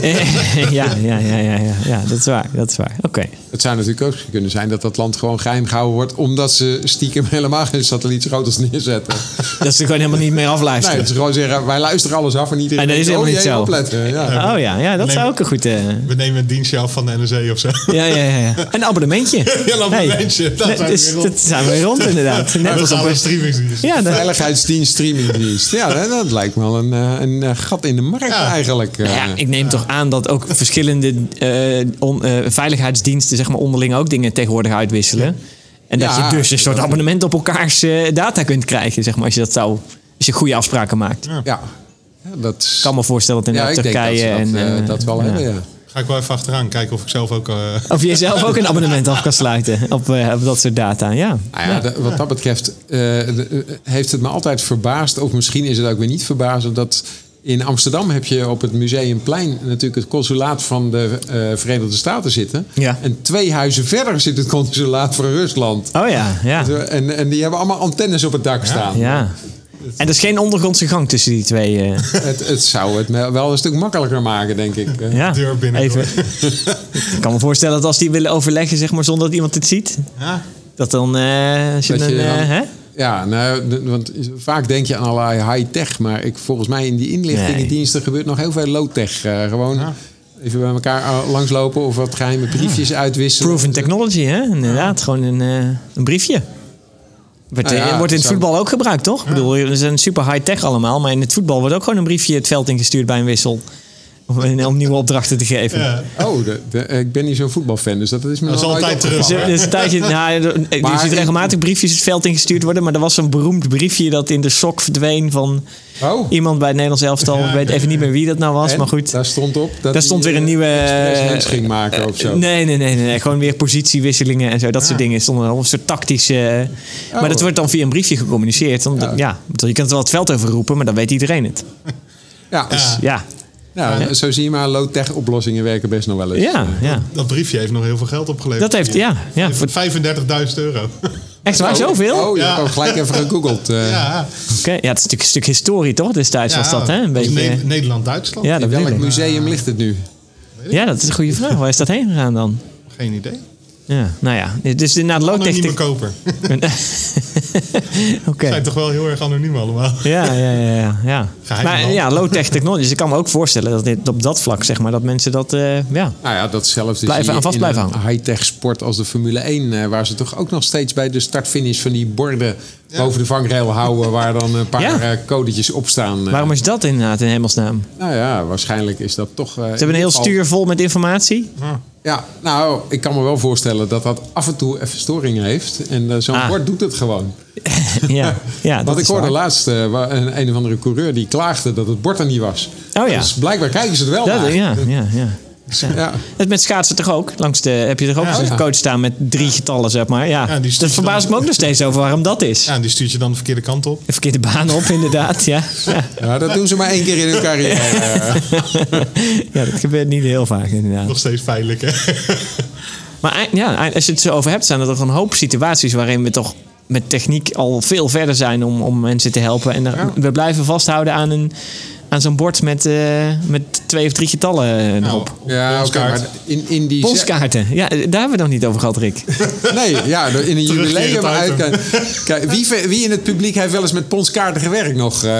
Speaker 1: ja, ja, ja, ja, ja, ja, dat is waar, dat is waar. Oké.
Speaker 2: Het zou natuurlijk ook kunnen zijn dat dat land gewoon geheim gehouden wordt... omdat ze stiekem helemaal geen satellietschotels neerzetten.
Speaker 1: Dat ze gewoon helemaal niet meer
Speaker 2: Nee,
Speaker 1: afluisteren.
Speaker 2: het is gewoon zeggen, wij luisteren alles af en iedereen...
Speaker 1: En dat is
Speaker 2: denkt,
Speaker 1: helemaal
Speaker 2: oh,
Speaker 1: niet
Speaker 2: jee, opletten. Ja.
Speaker 1: Oh ja, ja, dat
Speaker 3: Nee,
Speaker 1: zou
Speaker 3: maar-
Speaker 1: ook een goed... eh,
Speaker 3: We nemen een dienstje af van de NRC of zo.
Speaker 1: ja, ja, ja, ja. Een abonnementje.
Speaker 3: Ja, een abonnementje. Dat zijn we
Speaker 1: dus-
Speaker 3: weer rond.
Speaker 1: dat zijn we weer rond, inderdaad. Net
Speaker 3: we
Speaker 1: als
Speaker 3: gaan
Speaker 1: op
Speaker 3: een
Speaker 1: een...
Speaker 3: streamingsdienst.
Speaker 1: Ja, dat-
Speaker 2: Veiligheidsdienst, streamingdienst. Ja, dat, dat lijkt me wel een, eh, een eh, gat in de markt
Speaker 3: Ja.
Speaker 2: eigenlijk. eh.
Speaker 1: Nou ja, ik neem toch aan dat ook verschillende eh, on- eh, veiligheidsdiensten zeg maar, onderling ook dingen tegenwoordig uitwisselen. En dat
Speaker 2: Ja.
Speaker 1: je dus een soort abonnement op elkaars eh, data kunt krijgen, zeg maar, als je dat zou. Als je goede afspraken maakt. Ik
Speaker 2: ja. Ja, dat is-
Speaker 1: kan me voorstellen dat in
Speaker 2: ja, ik denk dat
Speaker 1: Turkije
Speaker 2: ze dat,
Speaker 1: en.
Speaker 2: eh,
Speaker 1: eh,
Speaker 2: dat wel
Speaker 1: ja.
Speaker 2: hebben, ja.
Speaker 3: Ga ik wel even achteraan kijken of ik zelf ook... eh,
Speaker 1: Of je zelf ook een abonnement af kan sluiten op, eh, op dat soort data. Ja.
Speaker 2: Nou ja, dat- wat dat betreft eh, de- eh, heeft het me altijd verbaasd... of misschien is het ook weer niet verbazend... dat in Amsterdam heb je op het Museumplein... natuurlijk het consulaat van de eh, Verenigde Staten zitten.
Speaker 1: Ja.
Speaker 2: En twee huizen verder zit het consulaat van Rusland.
Speaker 1: Oh ja, ja.
Speaker 2: Zo, En, en die hebben allemaal antennes op het dak staan.
Speaker 1: ja. En er is geen ondergrondse gang tussen die twee. eh,
Speaker 2: Het, het zou het me wel een stuk makkelijker maken, denk ik. Eh,
Speaker 1: ja.
Speaker 3: deur binnen
Speaker 1: Even. Ik kan me voorstellen dat als die willen overleggen, zeg maar, zonder dat iemand het ziet,
Speaker 3: ja.
Speaker 1: Dat dan, eh als je
Speaker 2: Dat
Speaker 1: een,
Speaker 2: je dan-
Speaker 1: eh, hè?
Speaker 2: Ja, nou, d- want vaak denk je aan allerlei high-tech. Maar ik, volgens mij in die inlichtingendiensten gebeurt nog heel veel low-tech. Eh, gewoon even bij elkaar eh, langslopen of wat geheime briefjes uitwisselen.
Speaker 1: proven technology, hè? Inderdaad, gewoon een, eh, een briefje. Wordt,
Speaker 2: Nou
Speaker 1: eh,
Speaker 2: ja,
Speaker 1: wordt in het
Speaker 2: zo-
Speaker 1: voetbal ook gebruikt, toch? Ik bedoel, we zijn super high-tech allemaal, maar in het voetbal wordt ook gewoon een briefje het veld ingestuurd bij een wissel. Om, eh, om nieuwe opdrachten te geven.
Speaker 3: Ja.
Speaker 2: Oh, de- de- ik ben niet zo'n voetbalfan, dus dat is me
Speaker 3: Dat is
Speaker 2: nog nooit
Speaker 3: altijd
Speaker 2: opgevallen.
Speaker 1: Dus,
Speaker 3: terug.
Speaker 1: er- dus een tijdje, nou, je- je
Speaker 2: Maar
Speaker 1: ziet
Speaker 2: ik-
Speaker 1: regelmatig briefjes het veld ingestuurd worden, maar er was zo'n beroemd briefje dat in de sok verdween van
Speaker 2: Oh.
Speaker 1: iemand bij het Nederlands elftal. Ik weet even niet meer wie dat nou was,
Speaker 2: En?
Speaker 1: maar goed.
Speaker 2: Daar stond op dat
Speaker 1: Daar stond
Speaker 2: die,
Speaker 1: weer een
Speaker 2: eh,
Speaker 1: nieuwe.
Speaker 2: expres
Speaker 1: eh,
Speaker 2: hens ging maken
Speaker 1: eh,
Speaker 2: of zo.
Speaker 1: Nee, nee, nee, nee, nee. Gewoon weer positiewisselingen en zo. Dat soort dingen. Stonden wel een soort tactische. eh,
Speaker 2: Oh.
Speaker 1: Maar dat wordt dan via een briefje gecommuniceerd. Want, ja. ik bedoel, je kunt er wel het veld over roepen, maar dan weet iedereen het.
Speaker 2: Ja, dus-
Speaker 1: Ja,
Speaker 2: nou, zo zie je maar, low-tech oplossingen werken best nog wel eens.
Speaker 1: ja, ja.
Speaker 3: Dat briefje heeft nog heel veel geld opgeleverd.
Speaker 1: Dat heeft, ja, ja. voor-
Speaker 3: 35.000 euro.
Speaker 1: Echt waar, zoveel?
Speaker 2: Oh, je
Speaker 3: Ja.
Speaker 2: hebt ook gelijk even gegoogeld. eh.
Speaker 3: ja,
Speaker 1: Oké, Ja, het is natuurlijk een stuk historie, toch? Destijds was dat, hè? Een
Speaker 3: dat is
Speaker 1: beetje.
Speaker 3: Ne- Nederland-Duitsland?
Speaker 1: Ja, dat bedoel
Speaker 2: Welk
Speaker 1: ik.
Speaker 2: museum ligt het nu?
Speaker 1: eh, Ja, dat is een goede vraag. Waar is dat heen gegaan dan?
Speaker 3: Geen idee.
Speaker 1: Ja, nou ja. Dus inderdaad, low tech...
Speaker 3: Anonieme
Speaker 1: tech-
Speaker 3: koper.
Speaker 1: Oké.
Speaker 3: Zijn toch wel heel erg anoniem allemaal.
Speaker 1: Ja, ja, ja, ja. ja.
Speaker 3: Geheim
Speaker 1: Maar
Speaker 3: land.
Speaker 1: ja, low-tech technologies. Ik kan me ook voorstellen dat dit, op dat vlak, zeg maar, dat mensen dat. eh, ja.
Speaker 2: Nou ja, datzelfde
Speaker 1: Blijven
Speaker 2: zie je
Speaker 1: aan vast
Speaker 2: in
Speaker 1: blijven
Speaker 2: een
Speaker 1: hangen.
Speaker 2: high-tech sport als de Formule 1. eh, waar ze toch ook nog steeds bij de start-finish van die borden boven de vangrail houden. Waar dan een paar
Speaker 1: Ja.
Speaker 2: eh, codetjes op staan. eh.
Speaker 1: Waarom is dat inderdaad in hemelsnaam? Ze
Speaker 2: Nou ja, waarschijnlijk is dat toch... eh, Ze
Speaker 1: hebben een heel stuur vol met informatie.
Speaker 2: Ja, nou, ik kan me wel voorstellen dat dat af en toe even storing heeft. En eh, zo'n
Speaker 1: Ah.
Speaker 2: bord doet het gewoon.
Speaker 1: Ja, ja dat
Speaker 2: Want ik
Speaker 1: is
Speaker 2: hoorde
Speaker 1: waar.
Speaker 2: laatst eh, wa- een, een of andere coureur die klaagde dat het bord er niet was.
Speaker 1: Oh ja.
Speaker 2: Dus blijkbaar kijken ze het wel
Speaker 1: Dat,
Speaker 2: naar.
Speaker 1: ja, ja, ja.
Speaker 2: Ja.
Speaker 1: Het met schaatsen toch ook? Langs de, heb je toch ook
Speaker 3: Ja.
Speaker 1: zo'n
Speaker 2: Ja.
Speaker 1: coach staan met drie getallen, zeg maar. Ja,
Speaker 3: Ja, die
Speaker 1: dat
Speaker 3: stuurt
Speaker 1: verbaas ik
Speaker 3: dan-
Speaker 1: me ook nog steeds over waarom dat is.
Speaker 3: Ja, en die stuurt je dan de verkeerde kant op.
Speaker 1: De verkeerde baan op, inderdaad. Ja. Ja.
Speaker 2: Ja, dat doen ze maar één keer in hun carrière. eh.
Speaker 1: ja, dat gebeurt niet heel vaak, inderdaad.
Speaker 3: Nog steeds pijnlijk, hè?
Speaker 1: Maar ei- ja, ei- als je het zo over hebt, zijn er toch een hoop situaties waarin we toch met techniek al veel verder zijn om, om mensen te helpen. En daar- we blijven vasthouden aan, een, aan zo'n bord met, eh, met twee of drie getallen eh, erop.
Speaker 2: Ja, oké,
Speaker 3: Polskaart.
Speaker 2: maar in, in die...
Speaker 1: Polskaarten. Ja, eh, daar hebben we het nog niet over gehad, Rick.
Speaker 2: Nee, ja, in een
Speaker 3: Terugkerend
Speaker 2: jubileum
Speaker 3: item.
Speaker 2: uitkijken. Kijk, wie, ve- wie in het publiek heeft wel eens met ponskaarten gewerkt nog? eh?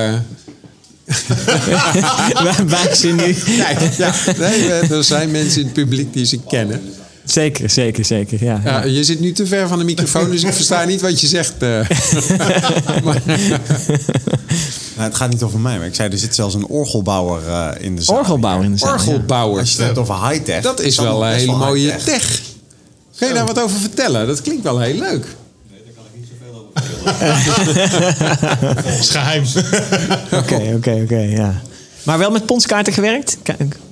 Speaker 1: Waar waar ze nu.
Speaker 2: Nee, ja, nee, eh, er zijn mensen in het publiek die ze kennen.
Speaker 1: Zeker, zeker, zeker. Ja.
Speaker 2: Ja, je zit nu te ver van de microfoon, dus ik versta niet wat je zegt. eh. Maar-
Speaker 4: Nou, het gaat niet over mij, maar ik zei, er zit zelfs een orgelbouwer eh, in de zaal.
Speaker 1: Orgelbouw in de zaal. ja.
Speaker 4: Als
Speaker 2: orgelbouwers,
Speaker 4: je het hebt over high-tech.
Speaker 2: dat is
Speaker 4: dan
Speaker 2: wel een
Speaker 4: best
Speaker 2: hele
Speaker 4: wel eh,
Speaker 2: mooie
Speaker 4: high-tech.
Speaker 2: tech. Kun je daar wat over vertellen? Dat klinkt wel heel leuk.
Speaker 3: Dat is geheim.
Speaker 1: Oké, oké, oké. ja. Maar wel met ponskaarten gewerkt? Kijk.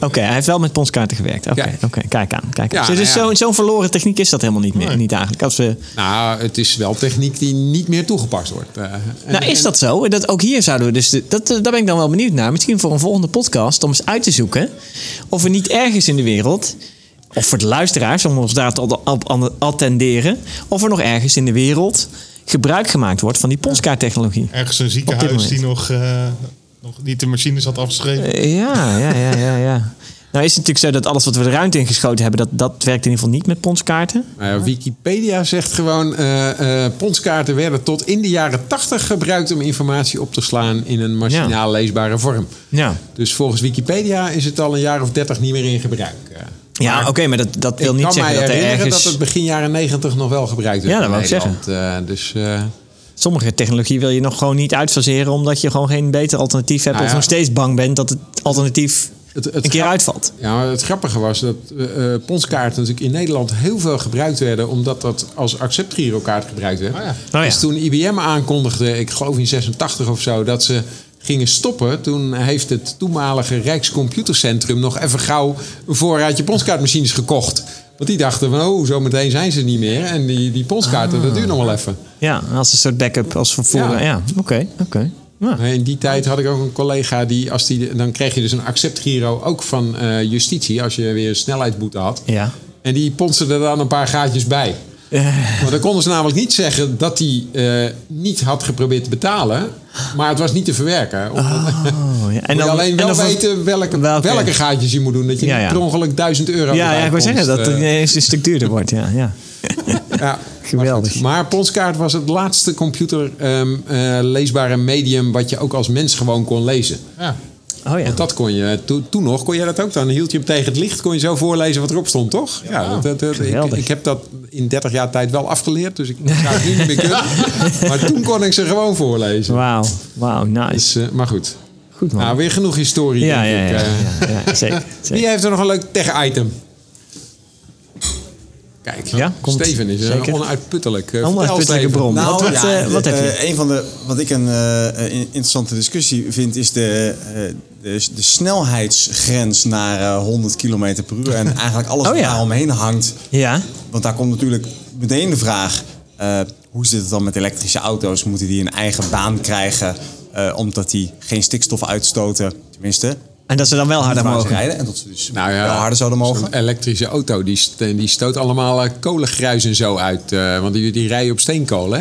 Speaker 1: Oké, hij heeft wel met ponskaarten gewerkt. Oké,
Speaker 2: Ja.
Speaker 1: oké, kijk aan. Kijk aan. dus
Speaker 2: Ja, nou
Speaker 1: dus
Speaker 2: ja.
Speaker 1: zo'n zo'n verloren techniek is dat helemaal niet meer. Niet eigenlijk. Als we,
Speaker 2: Nou, het is wel techniek die niet meer toegepast wordt. eh. En-
Speaker 1: nou, is
Speaker 2: en-
Speaker 1: dat zo? Dat, ook hier zouden we dus. de- dat, eh, daar ben ik dan wel benieuwd naar. Misschien voor een volgende podcast om eens uit te zoeken. Of er niet ergens in de wereld. Of voor de luisteraars, om ons daar te ad- ad- attenderen. Of er nog ergens in de wereld gebruik gemaakt wordt van die ponskaarttechnologie.
Speaker 3: Ergens een ziekenhuis
Speaker 1: moment.
Speaker 3: die nog, eh, nog niet de machines had afgeschreven.
Speaker 1: Eh, Ja, ja, ja, ja, ja. Nou is het natuurlijk zo dat alles wat we de ruimte ingeschoten hebben, dat, dat werkt in ieder geval niet met ponskaarten.
Speaker 2: Nou ja, Wikipedia zegt gewoon, eh, eh, ponskaarten werden tot in de jaren 80 gebruikt om informatie op te slaan in een machinaal leesbare vorm.
Speaker 1: Ja.
Speaker 2: Dus volgens Wikipedia is het al een jaar of 30 niet meer in gebruik. Eh,
Speaker 1: Ja, oké, maar dat, dat wil
Speaker 2: ik
Speaker 1: niet
Speaker 2: kan
Speaker 1: zeggen
Speaker 2: mij
Speaker 1: dat er
Speaker 2: herinneren
Speaker 1: ergens...
Speaker 2: dat het begin jaren 90 nog wel gebruikt werd
Speaker 1: Ja, dat
Speaker 2: in
Speaker 1: wou ik
Speaker 2: Nederland. Eh, dus, eh,
Speaker 1: Sommige technologie wil je nog gewoon niet uitfaseren, omdat je gewoon geen beter alternatief hebt.
Speaker 2: Nou
Speaker 1: Of
Speaker 2: ja.
Speaker 1: nog steeds bang bent dat het alternatief
Speaker 2: het, het
Speaker 1: een keer
Speaker 2: grap-
Speaker 1: uitvalt.
Speaker 2: Ja, maar het grappige was dat eh, eh, ponskaarten natuurlijk in Nederland heel veel gebruikt werden, omdat dat als acceptgirokaart gebruikt werd.
Speaker 1: ja.
Speaker 2: Dus toen IBM aankondigde, ik geloof in 86 of zo, dat ze gingen stoppen, toen heeft het toenmalige Rijkscomputercentrum nog even gauw een voorraadje ponskaartmachines gekocht. Want die dachten van, oh, zometeen zijn ze niet meer. En die, die ponskaarten, dat duurt nog wel even.
Speaker 1: Ja, als een soort backup, als vervoer. Ja,
Speaker 2: Ja.
Speaker 1: oké, oké. Ja.
Speaker 2: Maar In die tijd had ik ook een collega die, als die, dan kreeg je dus een acceptgiro ook van eh, justitie, als je weer snelheidsboete had.
Speaker 1: Ja.
Speaker 2: En die ponsten er dan een paar gaatjes bij.
Speaker 1: Eh,
Speaker 2: Want dan konden ze namelijk niet zeggen dat hij eh, niet had geprobeerd te betalen. Maar het was niet te verwerken. Omdat-
Speaker 1: Oh, ja. En
Speaker 2: moet je alleen wel
Speaker 1: en dan-
Speaker 2: weten welke,
Speaker 1: welke-
Speaker 2: welke. gaatjes je moet doen. Dat je
Speaker 1: Ja,
Speaker 2: niet
Speaker 1: ja.
Speaker 2: per ongeluk 1000 euro
Speaker 1: Ja, ja,
Speaker 2: erbij
Speaker 1: ik wil
Speaker 2: ponst,
Speaker 1: zeggen dat het
Speaker 2: eh,
Speaker 1: ineens een stuk duurder wordt. Ja, ja.
Speaker 2: ja.
Speaker 1: Geweldig.
Speaker 2: Maar Ponskaart was het laatste computer ehm, eh, leesbare medium... wat je ook als mens gewoon kon lezen.
Speaker 3: Ja.
Speaker 1: Oh ja.
Speaker 2: Want dat kon je toen, toen nog, kon je dat ook dan. Hield je hem tegen het licht, kon je zo voorlezen wat erop stond, toch? Ja, dat, dat- dat- ik,
Speaker 1: Geweldig.
Speaker 2: ik heb dat in 30 jaar tijd wel afgeleerd, dus ik zou het nu niet meer kunnen. Maar toen kon ik ze gewoon voorlezen.
Speaker 1: Wauw, wauw, nice.
Speaker 2: Dus, eh, maar goed.
Speaker 1: Goed man.
Speaker 2: Nou, weer genoeg historie.
Speaker 1: ja,
Speaker 2: denk
Speaker 1: ja, ja,
Speaker 2: ik.
Speaker 1: ja,
Speaker 2: Eh,
Speaker 1: ja, ja, zeker. zeker.
Speaker 2: Wie heeft er nog een leuk tech-item? Kijk,
Speaker 1: Ja, komt.
Speaker 2: Steven is eh,
Speaker 1: Zeker.
Speaker 2: onuitputtelijk. Eh,
Speaker 1: Onuitputtelijke
Speaker 2: vertel, Steven.
Speaker 1: bron.
Speaker 4: Nou,
Speaker 1: Wat- wat,
Speaker 4: ja,
Speaker 1: eh, wat heb je?
Speaker 4: eh, een van de, wat ik een eh, eh, in- interessante discussie vind, is de, eh, de, de snelheidsgrens naar eh, 100 km per uur. En eigenlijk alles
Speaker 1: Oh
Speaker 4: wat
Speaker 1: ja.
Speaker 4: daar omheen hangt.
Speaker 1: Ja,
Speaker 4: Want daar komt natuurlijk meteen de vraag: eh, hoe zit het dan met elektrische auto's? Moeten die een eigen baan krijgen eh, omdat die geen stikstof uitstoten? Tenminste,
Speaker 1: en dat ze dan wel harder
Speaker 4: waar ze
Speaker 1: Ah, mogen.
Speaker 4: rijden en dat ze dus
Speaker 2: Nou ja,
Speaker 4: wel harder zouden mogen.
Speaker 2: Zo'n elektrische auto, die, st- die stoot allemaal eh, kolengruis en zo uit. eh, want die, die rijden op steenkool, hè?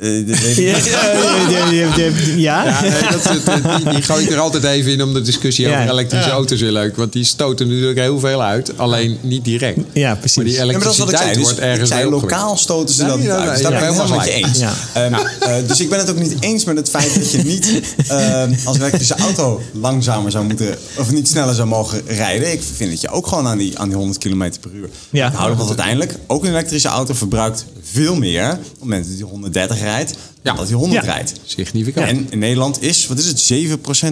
Speaker 4: Eh, dat weet ik
Speaker 1: Ja,
Speaker 4: niet.
Speaker 1: ja.
Speaker 2: nee, dat, is het. eh, die, die gooi ik er altijd even in om de discussie
Speaker 1: Ja.
Speaker 2: over elektrische auto's weer leuk. Want die stoten natuurlijk heel veel uit. Alleen niet direct.
Speaker 1: Ja, precies.
Speaker 2: Maar die
Speaker 1: Ja,
Speaker 4: Ja, maar dat is wat ik
Speaker 2: elektriciteit
Speaker 4: zei. Dus
Speaker 2: wordt ergens
Speaker 4: ik zei,
Speaker 2: weer
Speaker 4: lokaal stoten ze
Speaker 2: Nee,
Speaker 4: dat niet
Speaker 2: nee,
Speaker 4: uit.
Speaker 2: nee,
Speaker 4: Dus daar
Speaker 2: ja,
Speaker 4: ben ik helemaal met je
Speaker 2: helemaal
Speaker 4: eens.
Speaker 1: gelijk.
Speaker 4: Ehm, eh, dus ik ben het ook niet eens met het feit dat je niet ehm, als elektrische auto langzamer zou moeten... of niet sneller zou mogen rijden. Ik vind dat je ook gewoon aan die, aan die 100 km per uur
Speaker 1: Ja.
Speaker 4: moet houden. Want uiteindelijk, ook een elektrische auto verbruikt veel meer... op het moment dat hij 130 rijdt, dan
Speaker 2: Ja.
Speaker 4: dat hij 100
Speaker 1: Ja.
Speaker 4: rijdt.
Speaker 2: Significant.
Speaker 4: En in Nederland is, wat is het,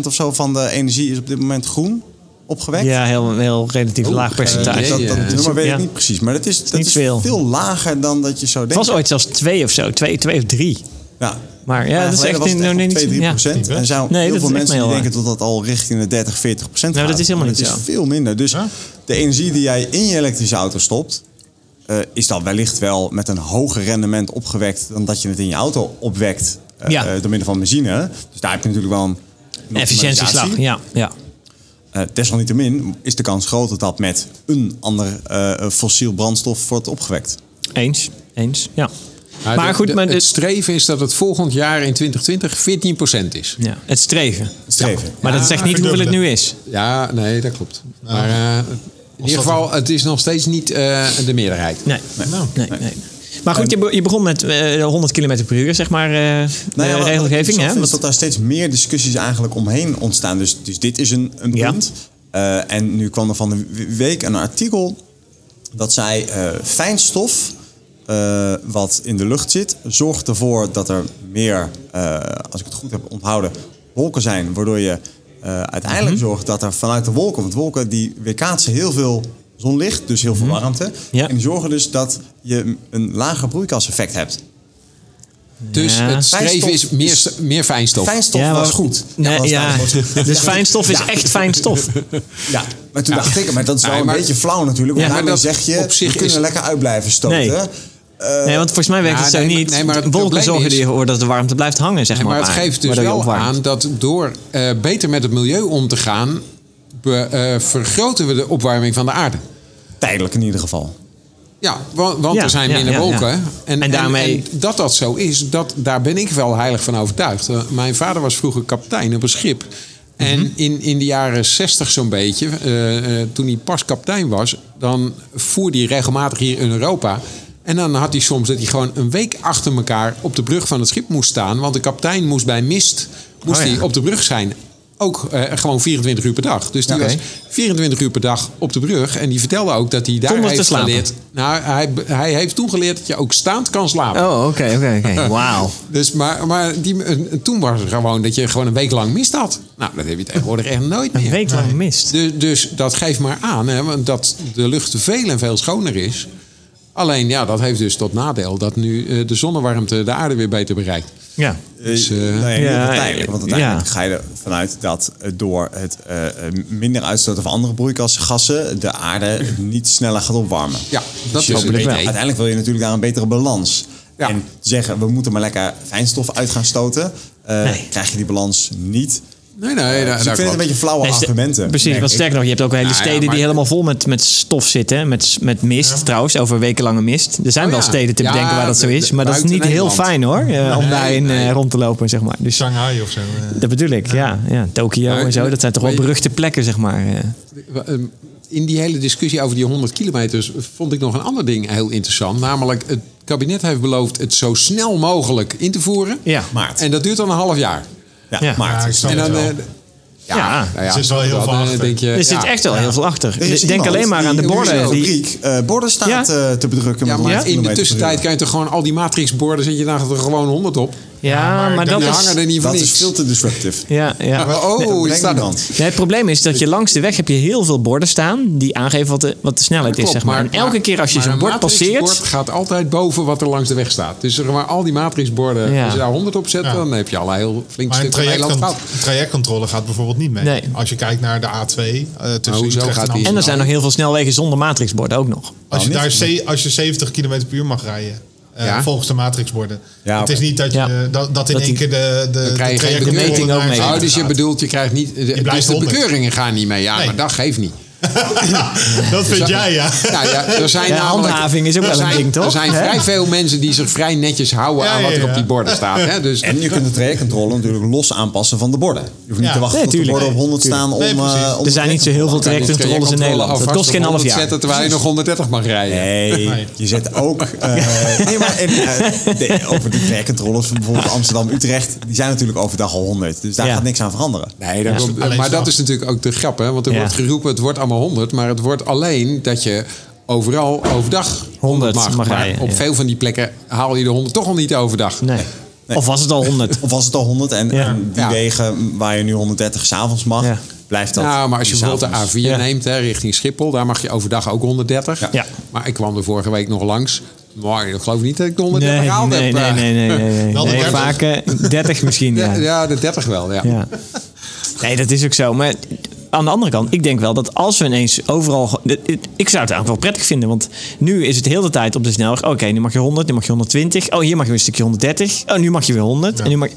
Speaker 4: 7% of zo van de energie is op dit moment groen opgewekt.
Speaker 1: ja heel, heel relatief laag percentage.
Speaker 2: jee.
Speaker 4: Dat, dat
Speaker 2: Ja.
Speaker 4: nummer weet ik
Speaker 1: Ja.
Speaker 4: niet precies, maar dat is, dat
Speaker 1: niet
Speaker 4: is
Speaker 1: veel.
Speaker 4: veel. lager dan dat je zou
Speaker 1: Het
Speaker 4: denken.
Speaker 1: was ooit zelfs twee of zo. Twee, twee of drie.
Speaker 4: Ja.
Speaker 1: Maar ja, dat is echt... in-
Speaker 4: in
Speaker 1: nee, niet-
Speaker 4: 2, 3
Speaker 1: ja.
Speaker 4: procent. En er zijn
Speaker 1: Nee, dat
Speaker 4: heel
Speaker 1: is
Speaker 4: veel
Speaker 1: echt
Speaker 4: mensen die
Speaker 1: heel
Speaker 4: denken dat dat al richting de 30, 40 procent
Speaker 1: Nou,
Speaker 4: gaat.
Speaker 1: dat is helemaal
Speaker 4: Maar
Speaker 1: niet
Speaker 4: dat
Speaker 1: zo.
Speaker 4: is veel minder. Dus
Speaker 3: Ja.
Speaker 4: de energie die jij in je elektrische auto stopt... eh, is dan wellicht wel met een hoger rendement opgewekt... dan dat je het in je auto opwekt eh,
Speaker 1: Ja.
Speaker 4: eh, door middel van benzine. Dus daar heb je natuurlijk wel een... een
Speaker 1: Efficiëntieslag,
Speaker 4: optimalisatie.
Speaker 1: ja. ja.
Speaker 4: Eh, desalniettemin is de kans groot dat dat met een ander eh, fossiel brandstof wordt opgewekt.
Speaker 1: Eens, eens, ja.
Speaker 2: Maar,
Speaker 1: maar
Speaker 2: de-
Speaker 1: goed,
Speaker 2: de-
Speaker 1: maar
Speaker 2: het
Speaker 1: het,
Speaker 2: streven is dat het volgend jaar in 2020 14% is.
Speaker 1: ja, het streven.
Speaker 4: Streven.
Speaker 1: Maar dat zegt niet hoeveel het nu is.
Speaker 2: Ja, nee, dat klopt. Maar eh, in ieder geval, het is nog steeds niet eh, de meerderheid.
Speaker 1: Nee,
Speaker 3: Nou.
Speaker 1: nee, nee. Maar goed, je, be- je begon met eh, 100 km per uur, zeg maar, eh de
Speaker 4: Nou ja, wat ik
Speaker 1: regelgeving.
Speaker 4: interessant
Speaker 1: Hè?
Speaker 4: vind Is
Speaker 1: Want-
Speaker 4: dat daar steeds meer discussies eigenlijk omheen ontstaan. Dus, dus dit is een, een
Speaker 1: Ja.
Speaker 4: punt. Eh, en nu kwam er van de w- week een artikel dat zei eh, fijnstof eh, wat in de lucht zit zorgt ervoor dat er meer, eh, als ik het goed heb onthouden, wolken zijn, waardoor je eh, uiteindelijk
Speaker 1: Mhm.
Speaker 4: zorgt dat er vanuit de wolken, want wolken die weerkaatsen heel veel zonlicht, dus heel veel warmte,
Speaker 1: Mhm. Ja.
Speaker 4: en die zorgen dus dat je een lager broeikaseffect hebt.
Speaker 2: Dus
Speaker 1: Ja.
Speaker 2: het streven is
Speaker 4: Fijnstof
Speaker 2: meer,
Speaker 4: is-
Speaker 2: meer fijnstof.
Speaker 4: Fijnstof
Speaker 1: Ja,
Speaker 4: was
Speaker 1: maar-
Speaker 4: goed.
Speaker 1: Nee,
Speaker 4: was
Speaker 1: ja.
Speaker 4: eigenlijk wel goed.
Speaker 1: Dus fijnstof is
Speaker 4: Ja.
Speaker 1: echt fijnstof.
Speaker 4: Ja, maar toen dacht ik, maar dat is wel
Speaker 2: Nee,
Speaker 4: een
Speaker 2: maar-
Speaker 4: beetje flauw natuurlijk. Want
Speaker 2: Ja, maar
Speaker 4: daarmee
Speaker 2: dat
Speaker 4: zeg je,
Speaker 2: op zich
Speaker 4: we kunnen
Speaker 2: is-
Speaker 4: lekker uit blijven stoten.
Speaker 1: Nee.
Speaker 4: Eh,
Speaker 1: Nee, want volgens mij werkt
Speaker 2: Ja,
Speaker 1: het zo
Speaker 2: nee, maar-
Speaker 1: niet.
Speaker 2: nee, maar het
Speaker 1: Wolken
Speaker 2: probleem
Speaker 1: zorgen
Speaker 2: is-
Speaker 1: ervoor dat de warmte blijft hangen, zeg
Speaker 2: En
Speaker 1: maar.
Speaker 2: maar het
Speaker 1: op aarde,
Speaker 2: geeft dus
Speaker 1: waardoor je
Speaker 2: wel
Speaker 1: opwarmt.
Speaker 2: aan dat door eh, beter met het milieu om te gaan, be- eh, vergroten we de opwarming van de aarde.
Speaker 4: Tijdelijk in ieder geval.
Speaker 2: Ja, wa- want
Speaker 1: Ja,
Speaker 2: er zijn
Speaker 1: ja,
Speaker 2: minder
Speaker 1: ja,
Speaker 2: wolken.
Speaker 1: ja. En
Speaker 2: En,
Speaker 1: daarmee-
Speaker 2: en dat dat zo is, dat, daar ben ik wel heilig van overtuigd. Eh, Mijn vader was vroeger kapitein op een schip.
Speaker 1: Mhm.
Speaker 2: En in, in de jaren zestig zo'n beetje, eh, eh, toen hij pas kapitein was... dan voerde hij regelmatig hier in Europa. En dan had hij soms dat hij gewoon een week achter elkaar... op de brug van het schip moest staan. Want de kapitein moest bij mist moest
Speaker 1: Oh ja.
Speaker 2: hij op de brug zijn. Ook eh, gewoon 24 uur per dag. Dus die
Speaker 1: Oké.
Speaker 2: was 24 uur per dag op de brug. En die vertelde ook dat hij daar
Speaker 1: Zonder te
Speaker 2: heeft
Speaker 1: slapen.
Speaker 2: geleerd... Nou, hij, hij heeft toen geleerd dat je ook staand kan slapen.
Speaker 1: Oh, oké, oké, oké. Wauw.
Speaker 2: Dus, maar maar die, en toen was het gewoon dat je gewoon een week lang mist had. Nou, dat heb je tegenwoordig echt nooit
Speaker 1: Een
Speaker 2: meer.
Speaker 1: week lang mist.
Speaker 2: Dus, dus dat geeft maar aan hè, want dat de lucht veel en veel schoner is. Alleen ja, dat heeft dus tot nadeel dat nu eh, de zonnewarmte de aarde weer beter bereikt.
Speaker 1: Ja.
Speaker 2: Dus, eh,
Speaker 4: nee, in ieder geval
Speaker 1: ja,
Speaker 4: tijdelijk. Want uiteindelijk
Speaker 1: ja.
Speaker 4: ga je ervan uit dat eh, door het eh, eh, minder uitstoten van andere broeikasgassen... de aarde niet sneller gaat opwarmen. Dus
Speaker 2: Ja, dat is
Speaker 1: hopelijk wel.
Speaker 2: een idee.
Speaker 4: Uiteindelijk wil je natuurlijk daar een betere balans.
Speaker 2: Ja.
Speaker 4: En zeggen, we moeten maar lekker fijnstof uit gaan stoten. eh,
Speaker 1: Nee.
Speaker 4: Krijg je die balans niet.
Speaker 2: Nee, nee,
Speaker 4: Dus
Speaker 2: daar,
Speaker 4: ik
Speaker 2: daar
Speaker 4: vind het een
Speaker 2: klopt.
Speaker 4: beetje flauwe
Speaker 1: Nee, ste-
Speaker 4: argumenten.
Speaker 1: Precies, want sterker nog, je hebt ook hele
Speaker 2: Nou ja,
Speaker 1: steden
Speaker 2: maar-
Speaker 1: die helemaal vol met, met stof zitten. hè, Met, met mist trouwens, over wekenlange mist. Er zijn
Speaker 2: Oh
Speaker 1: wel
Speaker 2: ja.
Speaker 1: steden te
Speaker 2: Ja,
Speaker 1: bedenken waar dat zo
Speaker 2: de-
Speaker 1: is.
Speaker 2: de-
Speaker 1: Maar dat is niet
Speaker 2: buiten
Speaker 1: heel
Speaker 2: Nederland.
Speaker 1: fijn hoor, eh, om
Speaker 2: Nee,
Speaker 1: daarin eh,
Speaker 2: nee.
Speaker 1: rond te lopen, zeg maar. Dus
Speaker 3: Shanghai of zo. eh.
Speaker 1: dat bedoel ik, ja. ja. Tokio
Speaker 2: Maar-
Speaker 1: en zo, dat zijn toch wel
Speaker 2: maar je-
Speaker 1: beruchte plekken, zeg maar. eh.
Speaker 2: ehm, In die hele discussie over die 100 kilometers vond ik nog een ander ding heel interessant. Namelijk, het kabinet heeft beloofd het zo snel mogelijk in te voeren.
Speaker 1: Ja.
Speaker 4: Maart.
Speaker 2: En dat duurt dan een half jaar.
Speaker 4: Ja,
Speaker 1: Ja.
Speaker 4: Maart.
Speaker 3: Ja, ik snap
Speaker 2: en dan,
Speaker 3: het wel.
Speaker 2: eh, ja,
Speaker 1: Ja.
Speaker 2: nou ja,
Speaker 3: Er zit wel heel
Speaker 2: dan,
Speaker 3: veel
Speaker 2: eh,
Speaker 3: achter.
Speaker 2: Denk je,
Speaker 1: Er zit
Speaker 2: ja.
Speaker 1: echt wel heel veel achter.
Speaker 4: Er is
Speaker 1: Denk
Speaker 4: iemand
Speaker 1: alleen maar aan de
Speaker 4: die in
Speaker 1: borden.
Speaker 4: zijn
Speaker 1: Die,
Speaker 4: fabriek, eh, borden staat
Speaker 1: Ja.
Speaker 4: eh, te bedrukken.
Speaker 2: Ja,
Speaker 4: met
Speaker 2: maar
Speaker 4: 100
Speaker 2: in de
Speaker 4: kilometer per
Speaker 2: tussentijd
Speaker 4: uur.
Speaker 2: kan je toch gewoon al die matrixborden... zet je daar toch gewoon 100 op?
Speaker 1: ja,
Speaker 3: maar
Speaker 1: maar,
Speaker 3: ik denk
Speaker 1: dat
Speaker 2: Die
Speaker 1: is...
Speaker 2: hangen er niet van
Speaker 4: Dat is
Speaker 2: niks.
Speaker 4: veel te disruptive.
Speaker 1: Ja, ja.
Speaker 2: Maar, oh,
Speaker 4: dat
Speaker 2: hier
Speaker 4: brengt
Speaker 2: staat
Speaker 4: niemand.
Speaker 2: het.
Speaker 1: Nee, het probleem is dat je langs de weg heb je heel veel borden staan die aangeven wat de, wat de snelheid is.
Speaker 2: Klopt,
Speaker 1: Zeg maar. en elke keer als je
Speaker 2: maar
Speaker 1: zo'n
Speaker 2: een
Speaker 1: bord passeert.
Speaker 2: matrixbord gaat altijd boven wat er langs de weg staat. Dus zeg maar al die matrixborden,
Speaker 1: Ja.
Speaker 2: als je daar 100 op zet...
Speaker 3: Ja.
Speaker 2: dan heb je al een heel flink
Speaker 3: Maar een
Speaker 2: stuk van
Speaker 3: traject-
Speaker 2: Nederland gehad.
Speaker 3: een trajectcontrole gaat bijvoorbeeld niet mee.
Speaker 1: Nee.
Speaker 3: Als je kijkt naar de A2 eh, tussen
Speaker 2: Nou, hoezo gaat die?
Speaker 3: Utrecht en
Speaker 1: en
Speaker 3: Amsterdam.
Speaker 1: er zijn nog heel veel snelwegen zonder matrixborden ook nog.
Speaker 3: Als je,
Speaker 4: Oh,
Speaker 3: daar
Speaker 4: niet?
Speaker 3: ze- als je 70 km per uur mag rijden. eh,
Speaker 2: Ja.
Speaker 3: Volgens de matrixborden.
Speaker 4: Ja,
Speaker 3: het is
Speaker 4: oké.
Speaker 3: niet dat, je,
Speaker 1: Ja.
Speaker 3: dat, dat in
Speaker 1: Dat
Speaker 3: één
Speaker 1: die-
Speaker 3: keer de, de,
Speaker 2: Dan
Speaker 3: de
Speaker 2: krijg je geen
Speaker 3: trajectcontrole
Speaker 1: meting ook
Speaker 3: naar
Speaker 1: mee.
Speaker 3: beneden
Speaker 2: Oh, dus je
Speaker 3: gaat.
Speaker 2: bedoelt, je krijgt niet. de-
Speaker 3: blijft
Speaker 2: dus de
Speaker 3: honderd.
Speaker 2: bekeuringen gaan niet mee. Ja,
Speaker 3: Nee.
Speaker 2: maar dat geeft niet.
Speaker 3: dat vind jij, ja.
Speaker 2: Nou ja, er zijn
Speaker 1: Ja,
Speaker 2: namelijk-
Speaker 1: handhaving is ook
Speaker 2: er
Speaker 1: wel een
Speaker 2: zijn-
Speaker 1: ding, toch?
Speaker 2: Er zijn
Speaker 1: Hè?
Speaker 2: vrij veel mensen die zich vrij netjes houden
Speaker 3: Ja,
Speaker 2: aan wat
Speaker 3: ja,
Speaker 2: er
Speaker 3: ja.
Speaker 2: op die borden staat. Hè? Dus
Speaker 4: En je kunt de trajectcontrole natuurlijk los aanpassen van de borden. Je hoeft niet
Speaker 3: Ja.
Speaker 4: te wachten
Speaker 1: Nee,
Speaker 4: tot de
Speaker 1: tuurlijk.
Speaker 4: borden op 100 staan om,
Speaker 3: Nee,
Speaker 4: eh,
Speaker 3: precies.
Speaker 4: om...
Speaker 1: Er zijn niet zo heel veel
Speaker 2: je kunt je
Speaker 1: trajectcontroles in
Speaker 2: controle
Speaker 1: Nederland. Dat
Speaker 2: alvast
Speaker 1: kost
Speaker 2: op
Speaker 1: geen half
Speaker 2: 100
Speaker 1: jaar.
Speaker 2: zetten terwijl je nog 130 mag rijden.
Speaker 4: Nee, je zet ook... eh, nee, maar en, eh, de- over de trajectcontroles van bijvoorbeeld Amsterdam-Utrecht... die zijn natuurlijk overdag al 100. Dus daar
Speaker 1: Ja.
Speaker 4: gaat niks aan veranderen.
Speaker 2: Nee, dat komt-
Speaker 3: Alleen
Speaker 2: maar
Speaker 3: snap.
Speaker 2: dat is natuurlijk ook de grap, hè? Want er
Speaker 1: Ja.
Speaker 2: wordt geroepen, het wordt allemaal 100, maar het wordt alleen dat je overal overdag 100 mag.
Speaker 1: mag
Speaker 2: maar
Speaker 1: rijden,
Speaker 2: op
Speaker 1: ja.
Speaker 2: veel van die plekken haal je de 100 toch al niet overdag.
Speaker 1: Nee. Of was het al 100?
Speaker 4: Of was het al 100 en,
Speaker 1: Ja.
Speaker 4: en die
Speaker 2: Ja.
Speaker 4: wegen waar je nu 130 s'avonds mag...
Speaker 1: Ja.
Speaker 4: blijft dat...
Speaker 2: nou, maar als je
Speaker 4: die
Speaker 2: bijvoorbeeld
Speaker 4: s'avonds.
Speaker 2: de A4
Speaker 1: Ja.
Speaker 2: neemt hè, richting Schiphol, daar mag je overdag ook 130.
Speaker 1: Ja.
Speaker 2: Maar ik kwam er vorige week nog langs. Maar ik geloof niet dat ik de 130
Speaker 1: nee,
Speaker 2: gehaald
Speaker 1: nee,
Speaker 2: heb.
Speaker 1: nee,
Speaker 2: eh.
Speaker 1: nee, nee, nee, nee.
Speaker 3: Wel de
Speaker 1: Nee,
Speaker 3: 30.
Speaker 1: vaak eh, 30 misschien.
Speaker 2: Ja,
Speaker 1: Ja.
Speaker 2: ja, de 30 wel, ja.
Speaker 1: Ja. Nee, dat is ook zo. Maar aan de andere kant, ik denk wel dat als we ineens overal... dit- dit- Ik zou het eigenlijk wel prettig vinden. Want nu is het heel de tijd op de snelweg. Oké, nu mag je 100, nu mag je 120. Oh, hier mag je weer een stukje 130. Oh, nu mag je weer 100. En nu mag...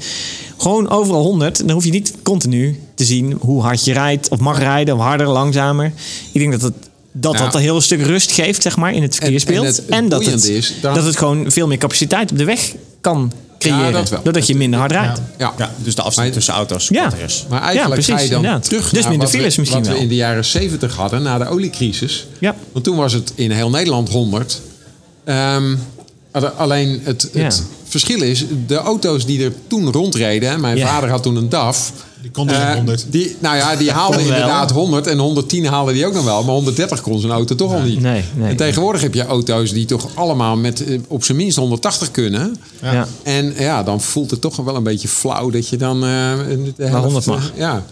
Speaker 1: Gewoon overal 100. Dan hoef je niet continu te zien hoe hard je rijdt. Of mag rijden, of harder, langzamer. Ik denk dat het... Dat
Speaker 2: Nou.
Speaker 1: dat een heel stuk rust geeft, zeg maar, in het verkeersbeeld.
Speaker 2: en
Speaker 1: En,
Speaker 2: het
Speaker 1: dat, het,
Speaker 2: boeiende is, dan-
Speaker 1: dat het gewoon veel meer capaciteit op de weg kan creëren.
Speaker 2: dat wel.
Speaker 1: Doordat je minder hard rijdt.
Speaker 2: Ja.
Speaker 4: Ja, dus de afstand
Speaker 2: Maar-
Speaker 4: tussen auto's
Speaker 1: Ja.
Speaker 4: korter is.
Speaker 2: Maar eigenlijk
Speaker 1: Ja, precies,
Speaker 2: ga je dan
Speaker 1: inderdaad.
Speaker 2: terug
Speaker 1: Dus
Speaker 2: naar
Speaker 1: minder
Speaker 2: wat,
Speaker 1: files
Speaker 2: we,
Speaker 1: misschien
Speaker 2: wat we
Speaker 1: wel.
Speaker 2: in de jaren 70 hadden, na de oliecrisis.
Speaker 1: Ja.
Speaker 2: Want toen was het in heel Nederland 100. Ehm, alle- alleen het,
Speaker 1: Ja.
Speaker 2: het verschil is, de auto's die er toen rondreden... hè, mijn
Speaker 1: Ja.
Speaker 2: vader had toen een DAF...
Speaker 3: Die konden
Speaker 2: eh,
Speaker 3: geen 100.
Speaker 2: Die, nou ja, die haalde
Speaker 1: dus Kon wel.
Speaker 2: inderdaad 100 en 110 haalde die ook nog wel. Maar 130 kon zijn auto toch al niet.
Speaker 1: Nee, nee.
Speaker 2: en tegenwoordig heb je auto's die toch allemaal met eh, op zijn minst 180 kunnen.
Speaker 1: Ja.
Speaker 2: En ja, dan voelt het toch wel een beetje flauw dat je dan... eh, de helft,
Speaker 1: 100 mag.
Speaker 2: eh, Ja.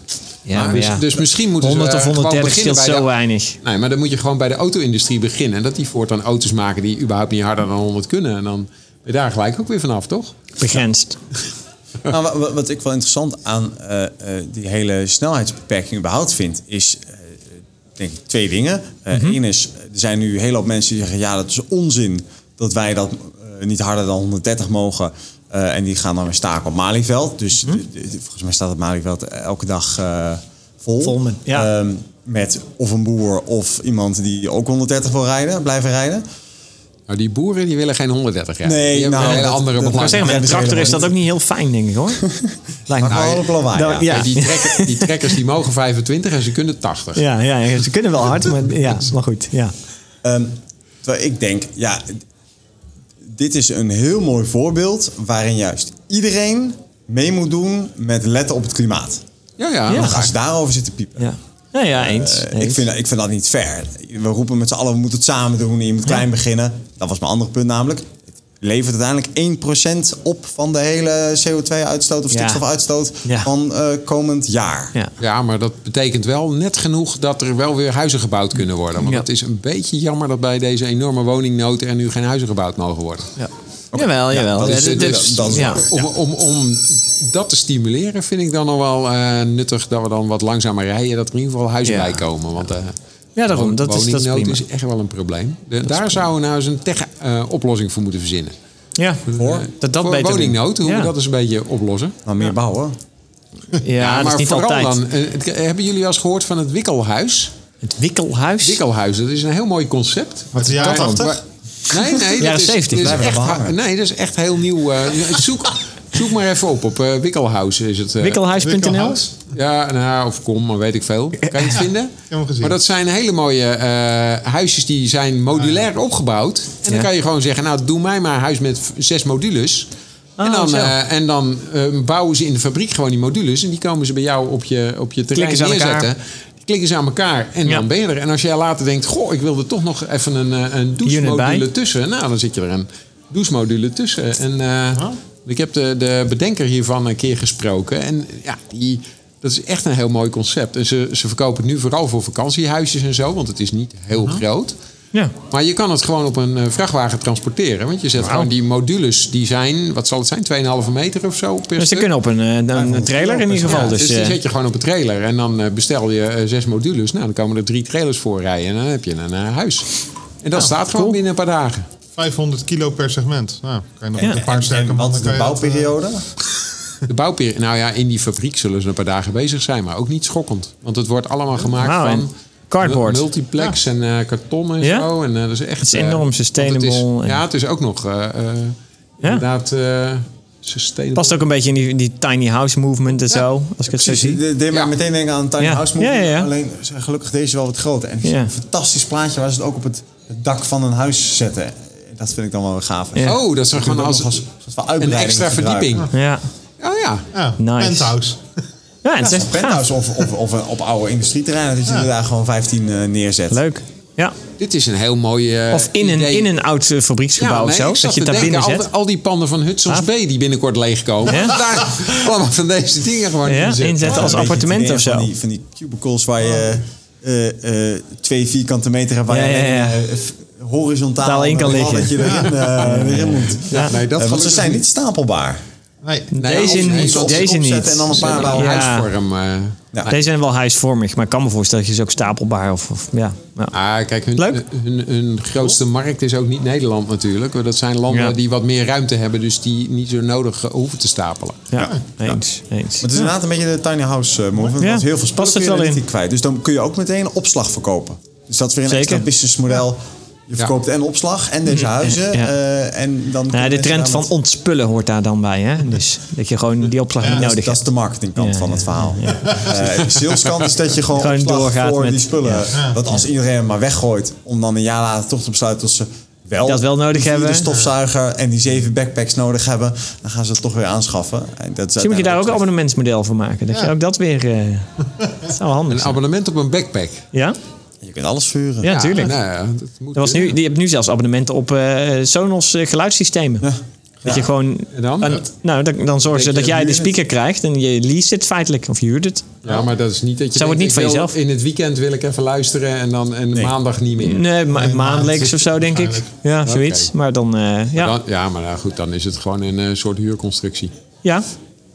Speaker 1: Ja,
Speaker 2: Maar
Speaker 1: maar
Speaker 2: dus,
Speaker 1: ja.
Speaker 2: dus misschien moeten ze
Speaker 1: 100
Speaker 2: eh,
Speaker 1: of
Speaker 2: gewoon
Speaker 1: 130
Speaker 2: beginnen
Speaker 1: scheelt
Speaker 2: bij
Speaker 1: zo
Speaker 2: de-
Speaker 1: weinig.
Speaker 2: Nee, maar dan moet je gewoon bij de auto-industrie beginnen. En dat die voortaan auto's maken die überhaupt niet harder dan 100 kunnen. En dan ben je daar gelijk ook weer vanaf, toch?
Speaker 1: Begrensd.
Speaker 4: Nou, wa- wa- wat, ik wel interessant aan eh, eh, die hele snelheidsbeperking überhaupt vind, is eh, denk ik twee dingen. Eén
Speaker 1: Mhm.
Speaker 4: is, eh, er zijn nu een hele hoop mensen die zeggen, ja, dat is onzin dat wij dat eh, niet harder dan 130 mogen. Eh, en die gaan dan weer staken op Malieveld. Dus
Speaker 1: Mhm.
Speaker 4: de- de- volgens mij staat het Malieveld elke dag eh, vol.
Speaker 1: Vol met- ja.
Speaker 4: Ehm, met of een boer of iemand die ook 130 wil rijden, blijven rijden.
Speaker 2: Nou, die boeren die willen geen 130 rijden.
Speaker 4: Nee,
Speaker 2: die hebben
Speaker 4: nou,
Speaker 2: een hele
Speaker 4: dat-
Speaker 2: andere
Speaker 4: dat-
Speaker 1: Maar
Speaker 2: belangen.
Speaker 1: zeg maar, met een
Speaker 4: Ja, dat is
Speaker 1: tractor is dat ook
Speaker 4: helemaal
Speaker 1: niet heel fijn, denk ik hoor. Lijkt
Speaker 4: Maar
Speaker 1: me.
Speaker 4: wel op lawaai.
Speaker 1: dat-
Speaker 4: ja.
Speaker 1: ja.
Speaker 2: Nee, die, trekker- die trekkers die mogen 25 en ze kunnen 80.
Speaker 1: Ja, ja, ja, ze kunnen wel hard, maar, ja, maar goed. Ja.
Speaker 4: Ehm, terwijl ik denk, ja, dit is een heel mooi voorbeeld waarin juist iedereen mee moet doen met letten op het klimaat.
Speaker 2: Ja, ja.
Speaker 1: Ja.
Speaker 4: Dan gaan ze daarover zitten piepen.
Speaker 1: Ja. Nou ja, eens.
Speaker 4: Eh,
Speaker 1: eens.
Speaker 4: ik, vind, dat- ik vind dat niet fair. We roepen met z'n allen, we moeten het samen doen en je moet klein beginnen. Dat was mijn andere punt namelijk. Het levert uiteindelijk 1% op van de hele CO2-uitstoot of
Speaker 1: Ja.
Speaker 4: stikstofuitstoot
Speaker 1: Ja.
Speaker 4: van eh, komend jaar.
Speaker 1: ja.
Speaker 2: Ja, maar dat betekent wel net genoeg dat er wel weer huizen gebouwd kunnen worden. Want
Speaker 1: Ja.
Speaker 2: het is een beetje jammer dat bij deze enorme woningnood er nu geen huizen gebouwd mogen worden.
Speaker 1: Jawel, jawel.
Speaker 4: dat
Speaker 1: Ja,
Speaker 4: is-
Speaker 1: dit-
Speaker 4: dat-
Speaker 1: dit-
Speaker 4: dat is-
Speaker 1: ja.
Speaker 2: Om, om, om dat te stimuleren vind ik dan nog wel eh, nuttig dat we dan wat langzamer rijden. Dat er in ieder geval huizen
Speaker 1: Ja.
Speaker 2: bij komen. Want eh
Speaker 1: Ja, daarom. Dat is- dat is
Speaker 2: woningnood
Speaker 1: prima.
Speaker 2: is echt wel een probleem. De- daar zouden we nou eens een tech-oplossing voor moeten verzinnen.
Speaker 1: Ja.
Speaker 2: Eh,
Speaker 1: Dat dat
Speaker 2: voor
Speaker 1: beter
Speaker 2: woningnood,
Speaker 1: doen.
Speaker 2: hoe
Speaker 1: ja.
Speaker 2: we dat eens een beetje oplossen.
Speaker 4: Nou, meer bouwen.
Speaker 1: Ja, dat is niet altijd.
Speaker 2: dan, eh, het- hebben jullie wel eens gehoord van het Wikkelhuis?
Speaker 1: Het wikkelhuis.
Speaker 2: Wikkelhuis, dat is een heel mooi concept.
Speaker 3: Uit de jaren 80?
Speaker 2: Nee, nee. dat
Speaker 1: Jaren
Speaker 2: is-
Speaker 1: 70,
Speaker 2: dit is
Speaker 1: blijven
Speaker 2: echt,
Speaker 4: we hangen.
Speaker 2: Nee, dat is echt heel nieuw. eh, zoek, zoek maar even op. Op eh, Wikkelhuis is het. eh,
Speaker 1: Wikkelhuis.nl.
Speaker 3: Wikkelhuis.
Speaker 2: Ja, nou, of kom, maar weet ik veel. Kan je het vinden?
Speaker 3: hem gezien.
Speaker 2: Maar dat zijn hele mooie eh, huisjes die zijn modulair
Speaker 3: Ah.
Speaker 2: opgebouwd. En dan
Speaker 1: Ja.
Speaker 2: kan je gewoon zeggen, nou doe mij maar een huis met v- zes modules. en
Speaker 1: Oh,
Speaker 2: dan,
Speaker 1: zo.
Speaker 2: eh, en dan eh, bouwen ze in de fabriek gewoon die modules. En die komen ze bij jou op je, op je terrein
Speaker 1: Klikken ze aan elkaar.
Speaker 2: neerzetten. Die Klikken ze aan elkaar en
Speaker 1: Ja.
Speaker 2: dan ben je er. En als jij later denkt, goh, ik wilde toch nog even een, eh, een douchemodule
Speaker 1: bij.
Speaker 2: tussen. Nou, dan zit je er een douchemodule tussen. En eh, ik heb de, de bedenker hiervan een keer gesproken. En ja, die, dat is echt een heel mooi concept. En ze, ze verkopen het nu vooral voor vakantiehuisjes en zo, want het is niet heel groot.
Speaker 1: Ja.
Speaker 2: Maar je kan het gewoon op een eh, vrachtwagen transporteren. Want je zet gewoon die modules, die zijn, wat zal het zijn, 2,5 meter of zo per
Speaker 1: Dus ze
Speaker 2: stuk.
Speaker 1: kunnen op een, eh, een, een trailer in ieder geval.
Speaker 2: Ja,
Speaker 1: dus,
Speaker 2: dus die
Speaker 1: eh,
Speaker 2: zet je gewoon op een trailer en dan eh, bestel je eh, zes modules. Nou, dan komen er drie trailers voor rijden en dan heb je een eh, huis. En
Speaker 1: Nou,
Speaker 2: dat staat gewoon binnen een paar dagen.
Speaker 3: 500 kilo per segment. Nou, kan je nog
Speaker 1: Ja.
Speaker 3: met een paar sterke
Speaker 4: En wat
Speaker 3: mannen...
Speaker 4: is de
Speaker 3: kan je dat, eh,
Speaker 4: bouwperiode?
Speaker 2: De bouwperiode, nou ja, in die fabriek zullen ze een paar dagen bezig zijn, maar ook niet schokkend. Want het wordt allemaal gemaakt
Speaker 1: Nou, en-
Speaker 2: van
Speaker 1: Cardboard.
Speaker 2: multiplex en eh, karton en
Speaker 1: Ja?
Speaker 2: zo. En, eh, dat is echt,
Speaker 1: is
Speaker 2: eh,
Speaker 1: enorm
Speaker 2: want het is-
Speaker 1: sustainable en-
Speaker 2: ja, het is ook nog eh, eh, inderdaad eh sustainable.
Speaker 1: Past ook een beetje in die, die tiny house movement en zo. Als ik het zo
Speaker 4: Precies,
Speaker 1: zie.
Speaker 4: de- deed maar meteen denken aan een Tiny
Speaker 1: Ja.
Speaker 4: House Movie.
Speaker 1: Ja, ja, ja.
Speaker 4: Alleen zijn gelukkig deze wel wat groter. En ik zie
Speaker 1: Ja.
Speaker 4: een fantastisch plaatje waar ze het ook op het het dak van een huis zetten. Dat vind ik dan wel weer gaaf.
Speaker 1: Ja.
Speaker 2: Oh, dat zijn
Speaker 4: Kun je
Speaker 2: gewoon
Speaker 4: ook
Speaker 2: als,
Speaker 4: nog als- als wat
Speaker 2: een
Speaker 4: uitbreiding
Speaker 2: extra
Speaker 4: gebruiken.
Speaker 2: verdieping.
Speaker 1: Ja.
Speaker 2: Oh ja.
Speaker 3: Ja,
Speaker 1: Nice.
Speaker 3: penthouse.
Speaker 1: Ja, en het
Speaker 4: Ja,
Speaker 1: is
Speaker 4: zo'n
Speaker 1: echt gaaf.
Speaker 4: penthouse of, of, of een- op oude industrieterreinen. Dat je er daar gewoon 15 eh, neerzet.
Speaker 1: Leuk. Ja.
Speaker 2: Dit is een heel mooi eh,
Speaker 1: Of in een,
Speaker 2: idee.
Speaker 1: in een oud eh, fabrieksgebouw
Speaker 2: nee,
Speaker 1: of zo.
Speaker 2: ik zat
Speaker 1: Dat je het
Speaker 2: te
Speaker 1: daar binnen
Speaker 2: denken,
Speaker 1: zet.
Speaker 2: Al, al die panden van Hudson's
Speaker 1: Ah.
Speaker 2: B die binnenkort leegkomen.
Speaker 1: Ja?
Speaker 2: Daar allemaal van deze dingen gewoon
Speaker 1: Ja,
Speaker 2: inzetten.
Speaker 1: inzetten
Speaker 4: Ja,
Speaker 1: als
Speaker 4: een beetje
Speaker 1: appartement
Speaker 4: het
Speaker 1: of
Speaker 4: idee
Speaker 1: zo.
Speaker 4: Van die, van die cubicles waar je
Speaker 2: Oh.
Speaker 4: eh, eh, twee vierkante meter hebt waar
Speaker 1: Ja,
Speaker 4: je
Speaker 1: ja, ja.
Speaker 4: alleen, eh, f- horizontaal
Speaker 1: Daar alleen
Speaker 4: met
Speaker 1: kan
Speaker 4: een
Speaker 1: liggen.
Speaker 4: laddertje erin, eh, erin moet.
Speaker 2: Ja, nee, dat
Speaker 4: Eh, want ze
Speaker 2: gelukkig
Speaker 4: zijn
Speaker 2: niet.
Speaker 4: niet stapelbaar.
Speaker 3: Nee.
Speaker 2: Nee,
Speaker 1: Deze
Speaker 2: of-
Speaker 1: niet,
Speaker 2: of-
Speaker 1: deze
Speaker 4: opzetten
Speaker 1: niet.
Speaker 4: en dan een
Speaker 2: Ze hebben wel
Speaker 4: paar bouwen.
Speaker 1: Ja.
Speaker 2: huisvorm. eh.
Speaker 4: Ja.
Speaker 1: Deze zijn wel huisvormig, maar ik kan me voorstellen dat je ze ook stapelbaar of, of ja. ja.
Speaker 2: Ah, kijk, hun,
Speaker 1: Leuk.
Speaker 2: hun, hun grootste markt is ook niet Nederland natuurlijk. want Dat zijn landen
Speaker 1: Ja.
Speaker 2: die wat meer ruimte hebben, dus die niet zo nodig eh, hoeven te stapelen.
Speaker 1: Ja, eens. eens.
Speaker 4: Maar het is inderdaad een beetje de tiny house eh movement.
Speaker 1: Ja,
Speaker 4: Want heel veel
Speaker 1: past
Speaker 4: spullen
Speaker 1: het
Speaker 4: kun je
Speaker 1: wel
Speaker 4: er niet
Speaker 1: in.
Speaker 4: in kwijt. Dus dan kun je ook meteen een opslag verkopen. Dus dat is weer een
Speaker 1: Zeker.
Speaker 4: extra businessmodel. Je verkoopt en opslag en deze huizen.
Speaker 1: Ja.
Speaker 4: eh, en dan
Speaker 1: Nou, de
Speaker 4: kunnen mensen
Speaker 1: trend
Speaker 4: daar
Speaker 1: van
Speaker 4: met-
Speaker 1: ontspullen hoort daar dan bij. Hè? Dus dat je gewoon die opslag niet
Speaker 4: dat is-
Speaker 1: nodig
Speaker 4: Dat is
Speaker 1: hebt.
Speaker 4: de marketingkant
Speaker 1: Ja,
Speaker 4: van
Speaker 1: ja,
Speaker 4: het verhaal. Eh de saleskant is dat je gewoon,
Speaker 1: Gewoon
Speaker 4: opslag
Speaker 1: doorgaat
Speaker 4: voor
Speaker 1: met-
Speaker 4: die spullen.
Speaker 1: ja.
Speaker 4: Dat als iedereen hem maar weggooit, om dan een jaar later toch te besluiten dat ze wel,
Speaker 1: Dat wel nodig
Speaker 4: die vierde
Speaker 1: hebben.
Speaker 4: stofzuiger en die zeven backpacks nodig hebben, dan gaan ze het toch weer aanschaffen. En dat is
Speaker 1: Misschien moet je daar ook een
Speaker 4: uiteindelijk
Speaker 1: abonnementsmodel van maken. Dat je ook dat weer... eh, dat zou wel handig
Speaker 2: Een
Speaker 1: zijn.
Speaker 2: abonnement op een backpack.
Speaker 1: Ja?
Speaker 4: Je kunt alles vuren.
Speaker 1: Ja, tuurlijk.
Speaker 2: nou ja, dat moet
Speaker 1: Er was nu, je hebt nu zelfs abonnementen op eh, Sonos eh, geluidssystemen. Dat je gewoon...
Speaker 2: En dan?
Speaker 1: een- nou, dan, dan zorgen ze
Speaker 2: je,
Speaker 1: dat jij
Speaker 2: huur
Speaker 1: de
Speaker 2: het.
Speaker 1: speaker krijgt en je leest het feitelijk. Of je huurt het.
Speaker 2: Ja, maar dat is niet dat je.
Speaker 1: Zou het
Speaker 2: denkt,
Speaker 1: niet van
Speaker 2: ik wil-
Speaker 1: jezelf?
Speaker 2: In het weekend wil ik even luisteren en dan en maandag niet meer.
Speaker 1: Nee, ma maandelijks
Speaker 3: maand-
Speaker 1: of zo, denk ik.
Speaker 3: waarschijnlijk.
Speaker 1: Ja, zoiets.
Speaker 2: Oké.
Speaker 1: Maar dan... eh, ja.
Speaker 2: Dan- ja, maar nou goed, dan is het gewoon een eh, soort huurconstructie.
Speaker 1: ja,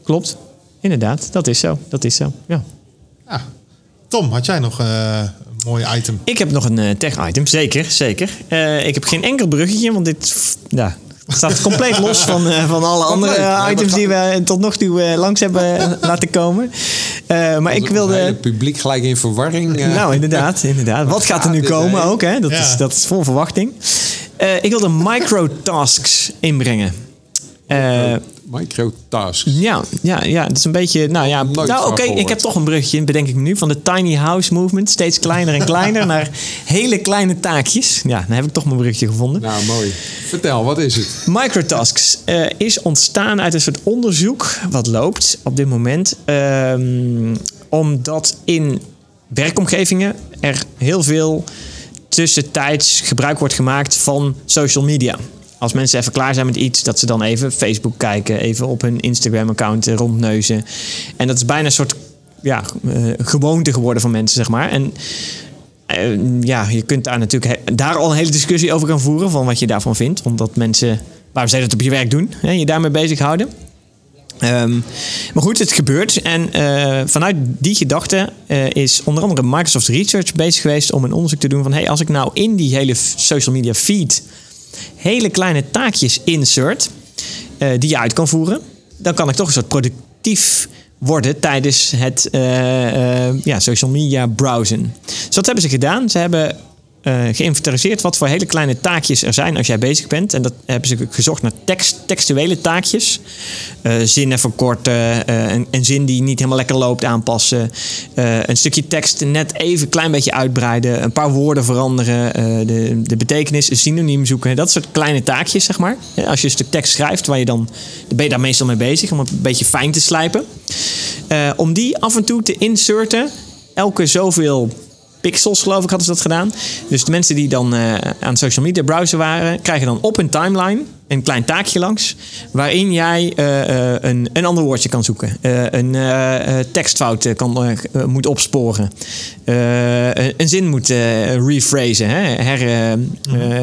Speaker 1: klopt. Inderdaad, dat is zo. Dat is zo, ja.
Speaker 3: Ja. Tom, had jij nog eh, een mooi item?
Speaker 1: Ik heb nog een eh, tech-item, zeker, zeker. Eh, ik heb geen enkel bruggetje, want dit f- ja, staat compleet los van, eh, van alle andere
Speaker 2: leuk.
Speaker 1: eh,
Speaker 2: Ja, maar
Speaker 1: items die we tot nog toe eh, langs hebben laten komen. Eh, maar ik wilde...
Speaker 2: Het publiek gelijk in verwarring. eh.
Speaker 1: Nou, inderdaad, inderdaad. Wat gaat er nu
Speaker 2: dit,
Speaker 1: komen
Speaker 2: hè?
Speaker 1: ook, hè? Dat,
Speaker 3: Ja.
Speaker 1: is, dat is vol verwachting. Eh, ik wilde microtasks inbrengen. Eh,
Speaker 2: Microtasks.
Speaker 1: ja, ja, ja, dat is een beetje. Nou ja,
Speaker 2: Nooit
Speaker 1: nou,
Speaker 2: van
Speaker 1: oké, ik
Speaker 2: gehoord.
Speaker 1: heb toch een brugje, bedenk ik me nu, van de tiny house movement. Steeds kleiner en kleiner naar hele kleine taakjes. Ja, dan heb ik toch mijn brugje gevonden.
Speaker 2: Nou, mooi. Vertel, wat is het?
Speaker 1: Microtasks eh, is ontstaan uit een soort onderzoek wat loopt op dit moment. ehm, omdat in werkomgevingen er heel veel tussentijds gebruik wordt gemaakt van social media. Als mensen even klaar zijn met iets, dat ze dan even Facebook kijken, even op hun Instagram-account rondneuzen. En dat is bijna een soort ja, eh, gewoonte geworden van mensen, zeg maar. En eh, ja, je kunt daar natuurlijk he- daar al een hele discussie over gaan voeren. Van wat je daarvan vindt. Want dat mensen, waarom zij dat op je werk doen. Hè, je daarmee bezighouden. Ehm, maar goed, het gebeurt. En eh, vanuit die gedachte eh, is onder andere Microsoft Research bezig geweest om een onderzoek te doen van hey, als ik nou in die hele f- social media feed hele kleine taakjes insert eh, die je uit kan voeren, dan kan ik toch een soort productief worden tijdens het eh, eh, ja, social media browsen. Dus dat hebben ze gedaan. Ze hebben eh, geïnventariseerd wat voor hele kleine taakjes er zijn als jij bezig bent. En dat hebben ze gezocht naar tekst, textuele taakjes. Eh, zinnen verkorten, eh, een, een zin die niet helemaal lekker loopt aanpassen. Eh, een stukje tekst net even een klein beetje uitbreiden. Een paar woorden veranderen. eh, de, de betekenis, een synoniem zoeken. Dat soort kleine taakjes, zeg maar. Eh, Als je een stuk tekst schrijft, waar je dan, dan ben je daar meestal mee bezig. Om het een beetje fijn te slijpen. Eh, om die af en toe te inserten. Elke zoveel pixels, geloof ik, hadden ze dat gedaan. Dus de mensen die dan eh, aan social media browsen waren, krijgen dan op hun timeline een klein taakje langs. Waarin jij eh, eh, een, een ander woordje kan zoeken. eh, een eh, eh, tekstfout eh, kan, eh, eh, moet opsporen. eh, een, een zin moet eh rephrasen, hè, her, eh, eh,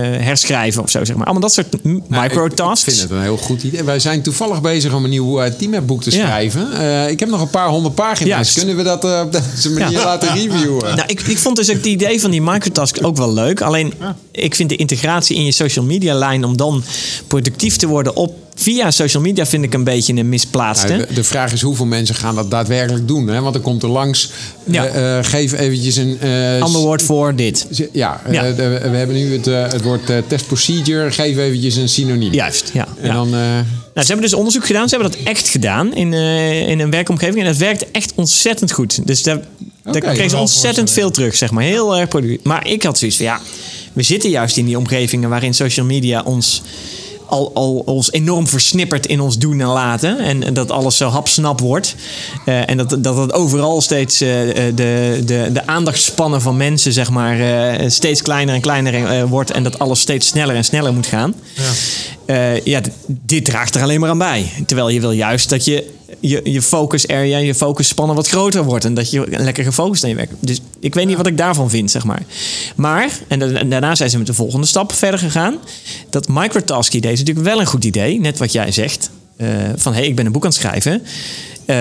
Speaker 1: herschrijven of zo. Zeg maar. Allemaal dat soort m-
Speaker 2: Nou, Mhm. ik-
Speaker 1: microtasks.
Speaker 2: Ik, vind het een heel goed idee. Wij zijn toevallig bezig om een nieuw eh, team-app-boek te
Speaker 1: Ja.
Speaker 2: schrijven. Eh, ik heb nog een paar honderd pagina's.
Speaker 1: Juist.
Speaker 2: Kunnen we dat eh, op deze manier
Speaker 1: Ja.
Speaker 2: laten reviewen?
Speaker 1: Nou, ik, ik vond dus ook het idee van die microtask ook wel leuk. Alleen, ik vind de integratie in je social media lijn om dan productief te worden op, via social media vind ik een beetje een misplaatste.
Speaker 2: Nou, de- de vraag is hoeveel mensen gaan dat daadwerkelijk doen. Hè? Want er komt er langs.
Speaker 1: Ja.
Speaker 2: eh, eh, geef eventjes een. eh,
Speaker 1: Ander woord voor dit.
Speaker 2: z- Ja, eh,
Speaker 1: Ja.
Speaker 2: de- we hebben nu het, eh, het woord eh, test procedure. Geef eventjes een synoniem.
Speaker 1: Juist, ja.
Speaker 2: En
Speaker 1: ja.
Speaker 2: dan. eh,
Speaker 1: Nou, ze hebben dus onderzoek gedaan. Ze hebben dat echt gedaan in, eh, in een werkomgeving. En dat werkt echt ontzettend goed. Dus daar, daar
Speaker 2: Oké.
Speaker 1: kregen ze
Speaker 3: Wel
Speaker 1: ontzettend veel terug, zeg maar. Heel erg productief. Maar ik had zoiets van, ja... We zitten juist in die omgevingen waarin social media ons... Al, al, ons enorm versnippert in ons doen en laten. En, en dat alles zo hapsnap wordt. Eh, en dat, dat dat overal steeds eh, eh, de, de, de aandachtspannen van mensen, zeg maar, eh, steeds kleiner en kleiner eh, wordt. En dat alles steeds sneller en sneller moet gaan. Eh, ja, d- dit draagt er alleen maar aan bij. Terwijl je wil juist dat je je, je focus area, je focusspannen wat groter wordt. En dat je lekker gefocust aan je werk. Dus ik weet niet wat ik daarvan vind, zeg maar. Maar, en, da- en daarna zijn ze met de volgende stap verder gegaan. Dat microtask idee is natuurlijk wel een goed idee. Net wat jij zegt. eh, van, hé, hey, ik ben een boek aan het schrijven. Eh,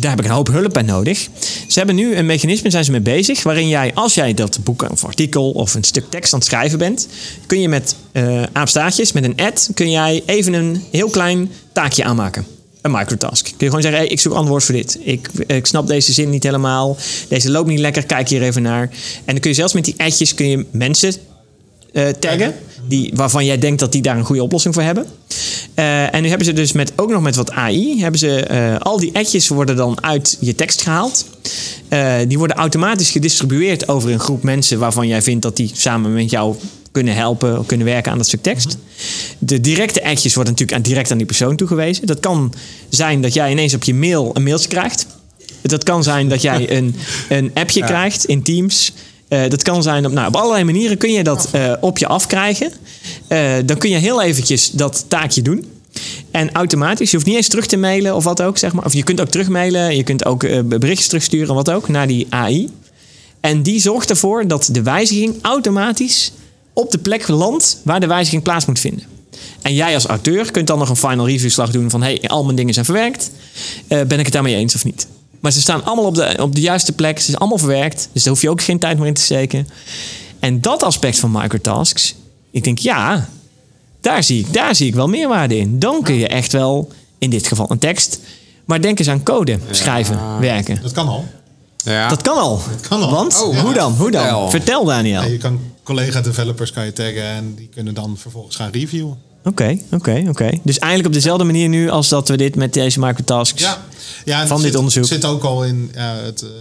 Speaker 1: daar heb ik een hoop hulp bij nodig. Ze hebben nu een mechanisme, zijn ze mee bezig, waarin jij, als jij dat boek of artikel of een stuk tekst aan het schrijven bent, kun je met eh aapstaartjes, met een ad, kun jij even een heel klein taakje aanmaken. Een microtask. Kun je gewoon zeggen, hey, ik zoek antwoord voor dit. Ik, ik snap deze zin niet helemaal. Deze loopt niet lekker, kijk hier even naar. En dan kun je zelfs met die adjes kun je mensen eh, taggen. Die, waarvan jij denkt dat die daar een goede oplossing voor hebben. Eh, en nu hebben ze dus met, ook nog met wat AI. Hebben ze, eh, al die adjes worden dan uit je tekst gehaald. Eh, die worden automatisch gedistribueerd over een groep mensen waarvan jij vindt dat die samen met jou kunnen helpen, kunnen werken aan dat stuk tekst. De directe adjes worden natuurlijk aan, direct aan die persoon toegewezen. Dat kan zijn dat jij ineens op je mail een mailtje krijgt. Dat kan zijn dat jij een, een appje krijgt in Teams. Eh, dat kan zijn, op, nou, op allerlei manieren kun je dat eh, op je afkrijgen. Eh, dan kun je heel eventjes dat taakje doen. En automatisch, je hoeft niet eens terug te mailen of wat ook, zeg maar. Of je kunt ook terugmailen, je kunt ook eh, berichtjes terugsturen, wat ook, naar die AI. En die zorgt ervoor dat de wijziging automatisch op de plek landt waar de wijziging plaats moet vinden. En jij als auteur kunt dan nog een final review slag doen van... hey, al mijn dingen zijn verwerkt. Eh, ben ik het daarmee eens of niet? Maar ze staan allemaal op de, op de juiste plek. Ze is allemaal verwerkt. Dus daar hoef je ook geen tijd meer in te steken. En dat aspect van microtasks... Ik denk, ja, daar zie ik, daar zie ik wel meerwaarde in. Dan kun je echt wel, in dit geval een tekst... maar denk eens aan code schrijven, werken.
Speaker 3: Dat kan al.
Speaker 2: ja.
Speaker 1: Dat kan al.
Speaker 3: Ah. kan al.
Speaker 1: Want,
Speaker 2: Oh,
Speaker 1: hoe dan? Hoe dan?
Speaker 2: vertel.
Speaker 1: Vertel, Daniel.
Speaker 3: En
Speaker 1: Oké,
Speaker 3: je kan collega-developers kan je taggen en die kunnen dan vervolgens gaan reviewen.
Speaker 1: oké, oké. Dus eigenlijk op dezelfde manier nu als dat we dit met deze microtasks...
Speaker 3: Ja, ja en
Speaker 1: Van
Speaker 3: het
Speaker 1: dit
Speaker 3: zit,
Speaker 1: onderzoek.
Speaker 3: zit ook al in ja, het ehm,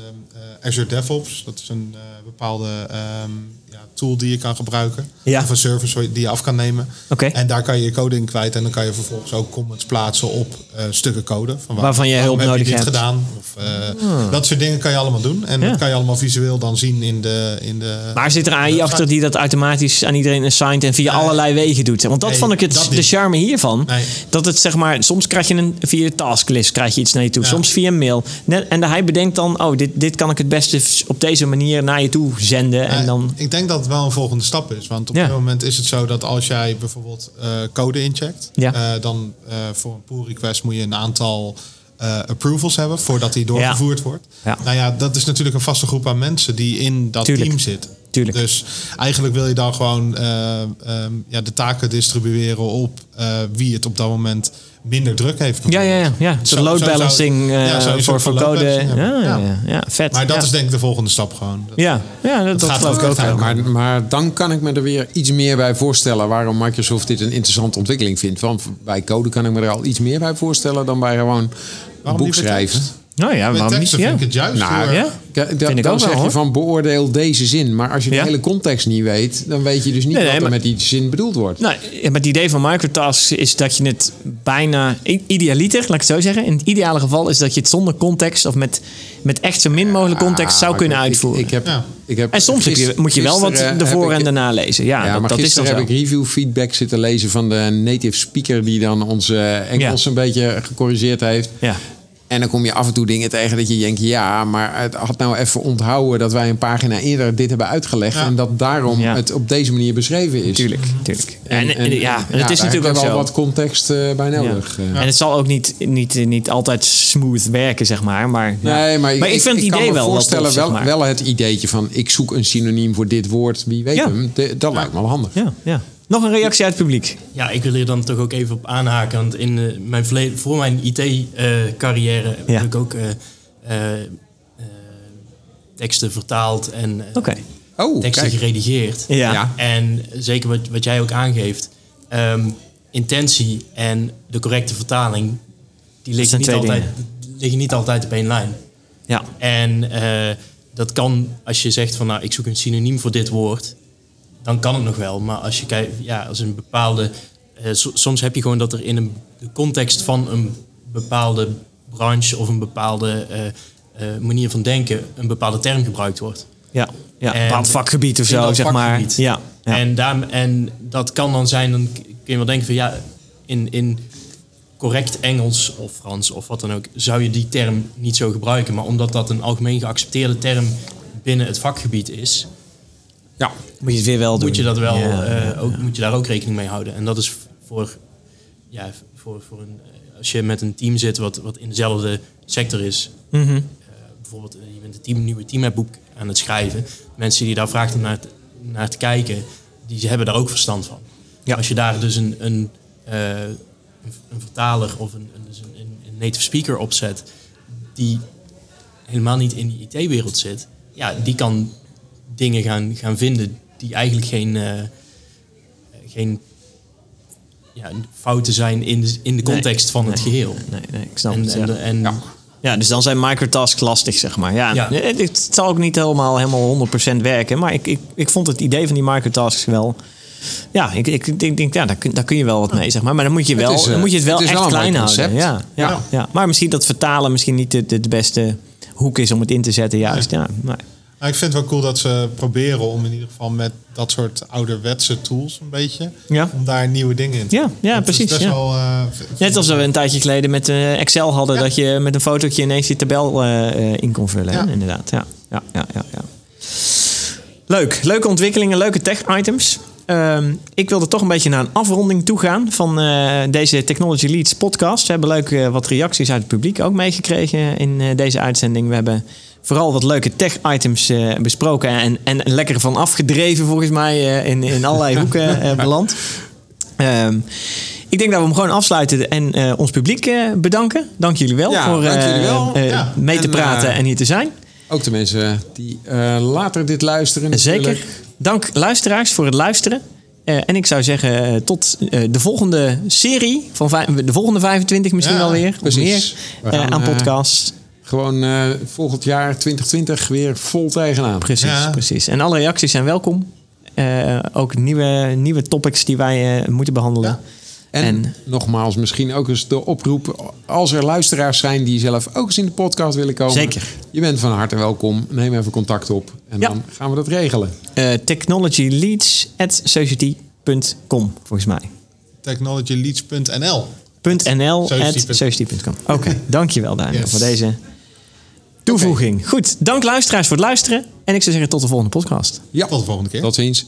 Speaker 3: eh, Azure DevOps. Dat is een eh, bepaalde ehm, ja, tool die je kan gebruiken.
Speaker 1: Ja.
Speaker 3: Of een service waar je- die je af kan nemen.
Speaker 1: Oké.
Speaker 3: En daar kan je je code in kwijt. En dan kan je vervolgens ook comments plaatsen op eh, stukken code. Van waar-
Speaker 1: Waarvan je hulp
Speaker 3: waarom heb
Speaker 1: nodig
Speaker 3: dit
Speaker 1: hebt. Ah.
Speaker 3: gedaan. Of, eh, Dat soort dingen kan je allemaal doen. En
Speaker 1: Ja.
Speaker 3: dat kan je allemaal visueel dan zien in de... In de
Speaker 1: Maar zit er AI achter die dat automatisch aan iedereen assignt en via allerlei wegen doet? Want dat
Speaker 3: Nee,
Speaker 1: vond ik het,
Speaker 3: dat
Speaker 1: de
Speaker 3: niet.
Speaker 1: charme hiervan.
Speaker 3: Nee.
Speaker 1: Dat het zeg maar, soms krijg je een, via de tasklist krijg je iets naar je toe,
Speaker 3: Ja.
Speaker 1: soms via een mail. Net, en hij bedenkt dan, oh, dit, dit kan ik het beste op deze manier naar je toe zenden. en
Speaker 3: Eh,
Speaker 1: dan,
Speaker 3: Ik denk dat het wel een volgende stap is. Want op
Speaker 1: Ja.
Speaker 3: dit moment is het zo dat als jij bijvoorbeeld eh, code incheckt,
Speaker 1: Ja.
Speaker 3: eh, dan eh, voor een pull request moet je een aantal eh, approvals hebben voordat die doorgevoerd wordt.
Speaker 1: Ja.
Speaker 3: Nou ja, dat is natuurlijk een vaste groep aan mensen die in dat
Speaker 1: Tuurlijk.
Speaker 3: team zitten.
Speaker 1: Tuurlijk.
Speaker 3: Dus eigenlijk wil je dan gewoon eh, ehm, ja, de taken distribueren op eh, wie het op dat moment minder druk heeft.
Speaker 1: ja, ja, ja. ja.
Speaker 3: Zo-
Speaker 1: Zo'n load
Speaker 3: zo zou-
Speaker 1: balancing eh,
Speaker 3: ja, zo- zo'n
Speaker 1: voor,
Speaker 3: soort
Speaker 1: voor
Speaker 3: van load
Speaker 1: code. Ja,
Speaker 3: balancing
Speaker 1: ja,
Speaker 3: hebben. Ja.
Speaker 1: ja. vet.
Speaker 3: Maar dat
Speaker 1: ja.
Speaker 3: is denk ik de volgende stap gewoon.
Speaker 1: Ja, ja dat, dat
Speaker 3: gaat
Speaker 1: geloof ik
Speaker 3: wel
Speaker 1: ook.
Speaker 3: echt
Speaker 1: wel.
Speaker 3: helemaal.
Speaker 2: Maar, maar dan kan ik me er weer iets meer bij voorstellen waarom Microsoft dit een interessante ontwikkeling vindt. Want bij code kan ik me er al iets meer bij voorstellen dan bij gewoon een boek
Speaker 3: liever
Speaker 2: schrijven.
Speaker 3: tekst?
Speaker 1: Nou ja,
Speaker 3: Met
Speaker 1: waarom niet?
Speaker 3: teksten
Speaker 1: Ja.
Speaker 3: vind ik het juist.
Speaker 2: Nou,
Speaker 3: heel erg-
Speaker 1: Ja?
Speaker 2: Kijk, dat,
Speaker 1: Vind ik
Speaker 2: dan
Speaker 1: ook wel,
Speaker 2: zeg
Speaker 1: hoor.
Speaker 2: je van beoordeel deze zin. Maar als je
Speaker 1: Ja.
Speaker 2: de hele context niet weet, dan weet je dus niet
Speaker 1: Nee, nee,
Speaker 2: wat er
Speaker 1: maar-
Speaker 2: met die zin bedoeld wordt.
Speaker 1: Nou, ja, maar het idee van microtasks is dat je het bijna i- idealiter, laat ik het zo zeggen. In het ideale geval is dat je het zonder context of met, met echt zo min mogelijk context
Speaker 2: Ah,
Speaker 1: zou
Speaker 2: maar
Speaker 1: kunnen
Speaker 2: ik- ik-
Speaker 1: uitvoeren.
Speaker 2: Ik, heb,
Speaker 3: Ja.
Speaker 2: ik heb
Speaker 1: en soms heb je-
Speaker 2: gisteren-
Speaker 1: moet je wel wat
Speaker 2: gisteren
Speaker 1: ervoor
Speaker 2: heb
Speaker 1: en
Speaker 2: ik-
Speaker 1: daarna lezen. Ja,
Speaker 2: Ja,
Speaker 1: dat- dat is
Speaker 2: maar
Speaker 1: dan
Speaker 2: gisteren
Speaker 1: zo.
Speaker 2: heb ik review feedback zitten lezen van de native speaker die dan onze Engels
Speaker 1: Ja.
Speaker 2: een beetje gecorrigeerd heeft.
Speaker 1: Ja.
Speaker 2: En dan kom je af en toe dingen tegen dat je denkt, ja, maar het had nou even onthouden dat wij een pagina eerder dit hebben uitgelegd en dat daarom
Speaker 1: Ja.
Speaker 2: het op deze manier beschreven is.
Speaker 1: Tuurlijk, tuurlijk. En, en- ja, en het is
Speaker 2: daar
Speaker 1: natuurlijk
Speaker 2: heb
Speaker 1: ook
Speaker 2: je wel
Speaker 1: zo.
Speaker 2: wat context eh, bij
Speaker 1: Ja.
Speaker 2: nodig. eh.
Speaker 1: En het zal ook niet, niet, niet altijd smooth werken, zeg maar. Maar, ja.
Speaker 2: Nee, maar,
Speaker 1: ik, vind het
Speaker 2: kan
Speaker 1: idee
Speaker 2: me
Speaker 1: wel wat
Speaker 2: voorstellen,
Speaker 1: tof, zeg
Speaker 2: wel,
Speaker 1: maar.
Speaker 2: wel het ideetje van ik zoek een synoniem voor dit woord, wie weet
Speaker 1: Ja.
Speaker 2: hem. De- dat lijkt me wel handig.
Speaker 1: Ja, ja. Nog een reactie uit het publiek.
Speaker 5: Ja, ik wil hier dan toch ook even op aanhaken. Want in eh, mijn verleden, voor mijn IT-carrière
Speaker 1: Ja.
Speaker 5: heb ik ook eh, eh, eh, teksten vertaald en eh,
Speaker 1: Oké.
Speaker 2: Oh,
Speaker 5: teksten
Speaker 2: kijk.
Speaker 5: geredigeerd.
Speaker 1: Ja.
Speaker 2: Ja.
Speaker 5: En zeker wat, wat jij ook aangeeft, ehm, intentie en de correcte vertaling, die liggen
Speaker 1: zijn
Speaker 5: niet,
Speaker 1: twee
Speaker 5: altijd, liggen niet altijd op één lijn.
Speaker 1: Ja.
Speaker 5: En eh, dat kan, als je zegt van nou, ik zoek een synoniem voor dit woord, dan kan het nog wel. Maar als je kijkt, ja, als een bepaalde. eh, so- soms heb je gewoon dat er in een, de context van een bepaalde branche of een bepaalde eh, eh, manier van denken een bepaalde term gebruikt wordt.
Speaker 1: Ja. Ja.
Speaker 5: En-
Speaker 1: Een bepaald vakgebied of
Speaker 5: In
Speaker 1: zo,
Speaker 5: dat
Speaker 1: zeg maar.
Speaker 5: vakgebied.
Speaker 1: Ja. ja.
Speaker 5: En, daar, en dat kan dan zijn, dan kun je wel denken van ja, in, in correct Engels of Frans of wat dan ook, zou je die term niet zo gebruiken. Maar omdat dat een algemeen geaccepteerde term binnen het vakgebied is,
Speaker 2: Ja,
Speaker 1: moet je het weer wel doen.
Speaker 5: moet je, dat wel,
Speaker 1: Ja.
Speaker 5: eh, ook, moet je daar ook rekening mee houden. En dat is voor, ja, voor, voor een, eh, als je met een team zit wat, wat in dezelfde sector is.
Speaker 1: Mhm.
Speaker 5: eh, bijvoorbeeld, eh, je bent een, team, een nieuwe teamboek aan het schrijven. Mensen die daar vraagt om naar te, naar te kijken, die hebben daar ook verstand van.
Speaker 1: Ja.
Speaker 5: Als je daar dus een, een, eh, een, een vertaler of een, een, dus een, een- een native speaker opzet, die helemaal niet in die IT-wereld zit, ja, die kan dingen gaan, gaan vinden die eigenlijk geen, eh, geen ja, fouten zijn in de, in de
Speaker 1: Nee.
Speaker 5: context van het
Speaker 1: Nee.
Speaker 5: geheel.
Speaker 1: Nee, nee, ik snap
Speaker 5: En,
Speaker 1: het. ja.
Speaker 5: en, en
Speaker 2: Ja.
Speaker 1: Ja, dus dan zijn microtasks lastig, zeg maar. Ja,
Speaker 5: Ja.
Speaker 1: Het, het zal ook niet helemaal, helemaal 100% werken. Maar ik, ik, ik vond het idee van die microtasks wel... Ja, ik, ik, ik denk, ja, daar, kun, daar kun je wel wat mee, zeg maar. Maar dan moet je, wel,
Speaker 2: is, eh,
Speaker 1: dan moet je het wel
Speaker 2: het is
Speaker 1: echt
Speaker 2: wel een mooi
Speaker 1: klein houden.
Speaker 2: concept.
Speaker 1: Ja, ja, ja.
Speaker 2: Ja.
Speaker 1: Maar misschien dat vertalen misschien niet de, de, de beste hoek is om het in te zetten. Juist, ja. maar-
Speaker 3: Maar ik vind het wel cool dat ze proberen om in ieder geval met dat soort ouderwetse tools een beetje,
Speaker 1: Ja.
Speaker 3: om daar nieuwe dingen in te
Speaker 1: Ja,
Speaker 3: doen.
Speaker 1: ja,
Speaker 3: Dat is
Speaker 1: precies,
Speaker 3: best
Speaker 1: ja.
Speaker 3: wel, eh,
Speaker 1: Net als we een tijdje geleden met eh, Excel hadden... dat je met een fotootje ineens die tabel eh, eh, in kon vullen. hè?
Speaker 3: Ja.
Speaker 1: Inderdaad, ja. Ja, ja, ja, ja. Leuk. Leuke ontwikkelingen, leuke tech-items. Ehm, ik wilde toch een beetje naar een afronding toe gaan van eh, deze Technology Leads podcast. We hebben leuk eh, wat reacties uit het publiek ook meegekregen in eh, deze uitzending. We hebben vooral wat leuke tech-items eh, besproken en, en lekker van afgedreven volgens mij eh, in, in allerlei hoeken eh, beland. Ehm, ik denk dat we hem gewoon afsluiten en eh, ons publiek eh, bedanken. Dank jullie wel
Speaker 2: Ja,
Speaker 1: voor
Speaker 2: dank
Speaker 1: eh,
Speaker 2: jullie wel.
Speaker 1: eh,
Speaker 2: Ja.
Speaker 1: mee te
Speaker 2: En,
Speaker 1: praten
Speaker 2: eh,
Speaker 1: en hier te zijn.
Speaker 2: ook de mensen die eh, later dit luisteren.
Speaker 1: Zeker.
Speaker 2: natuurlijk.
Speaker 1: Dank luisteraars voor het luisteren. Eh, en ik zou zeggen eh, tot eh, de volgende serie, van vij- de volgende 25 misschien
Speaker 3: Ja,
Speaker 1: wel weer, of
Speaker 2: precies.
Speaker 1: meer,
Speaker 2: We
Speaker 1: eh,
Speaker 2: gaan,
Speaker 1: aan
Speaker 2: eh,
Speaker 1: podcasts.
Speaker 2: Gewoon eh, volgend jaar 2020 weer vol tegenaan.
Speaker 1: Precies,
Speaker 3: ja.
Speaker 1: precies. En alle reacties zijn welkom. Eh, ook nieuwe, nieuwe topics die wij eh, moeten behandelen.
Speaker 2: En,
Speaker 1: En-
Speaker 2: nogmaals, misschien ook eens de oproep. Als er luisteraars zijn die zelf ook eens in de podcast willen komen.
Speaker 1: Zeker.
Speaker 2: Je bent van harte welkom. Neem even contact op. En
Speaker 1: Ja.
Speaker 2: dan gaan we dat regelen.
Speaker 1: Eh, technologyleads@society.com volgens mij.
Speaker 3: technologyleads.nl.
Speaker 1: .nl
Speaker 3: Society.com.
Speaker 1: society.com. Oké, dankjewel Daniel
Speaker 3: Yes.
Speaker 1: voor deze toevoeging. Goed, dank luisteraars voor het luisteren. En ik zou zeggen tot de volgende podcast.
Speaker 2: Ja,
Speaker 3: Tot de volgende keer.
Speaker 2: tot ziens.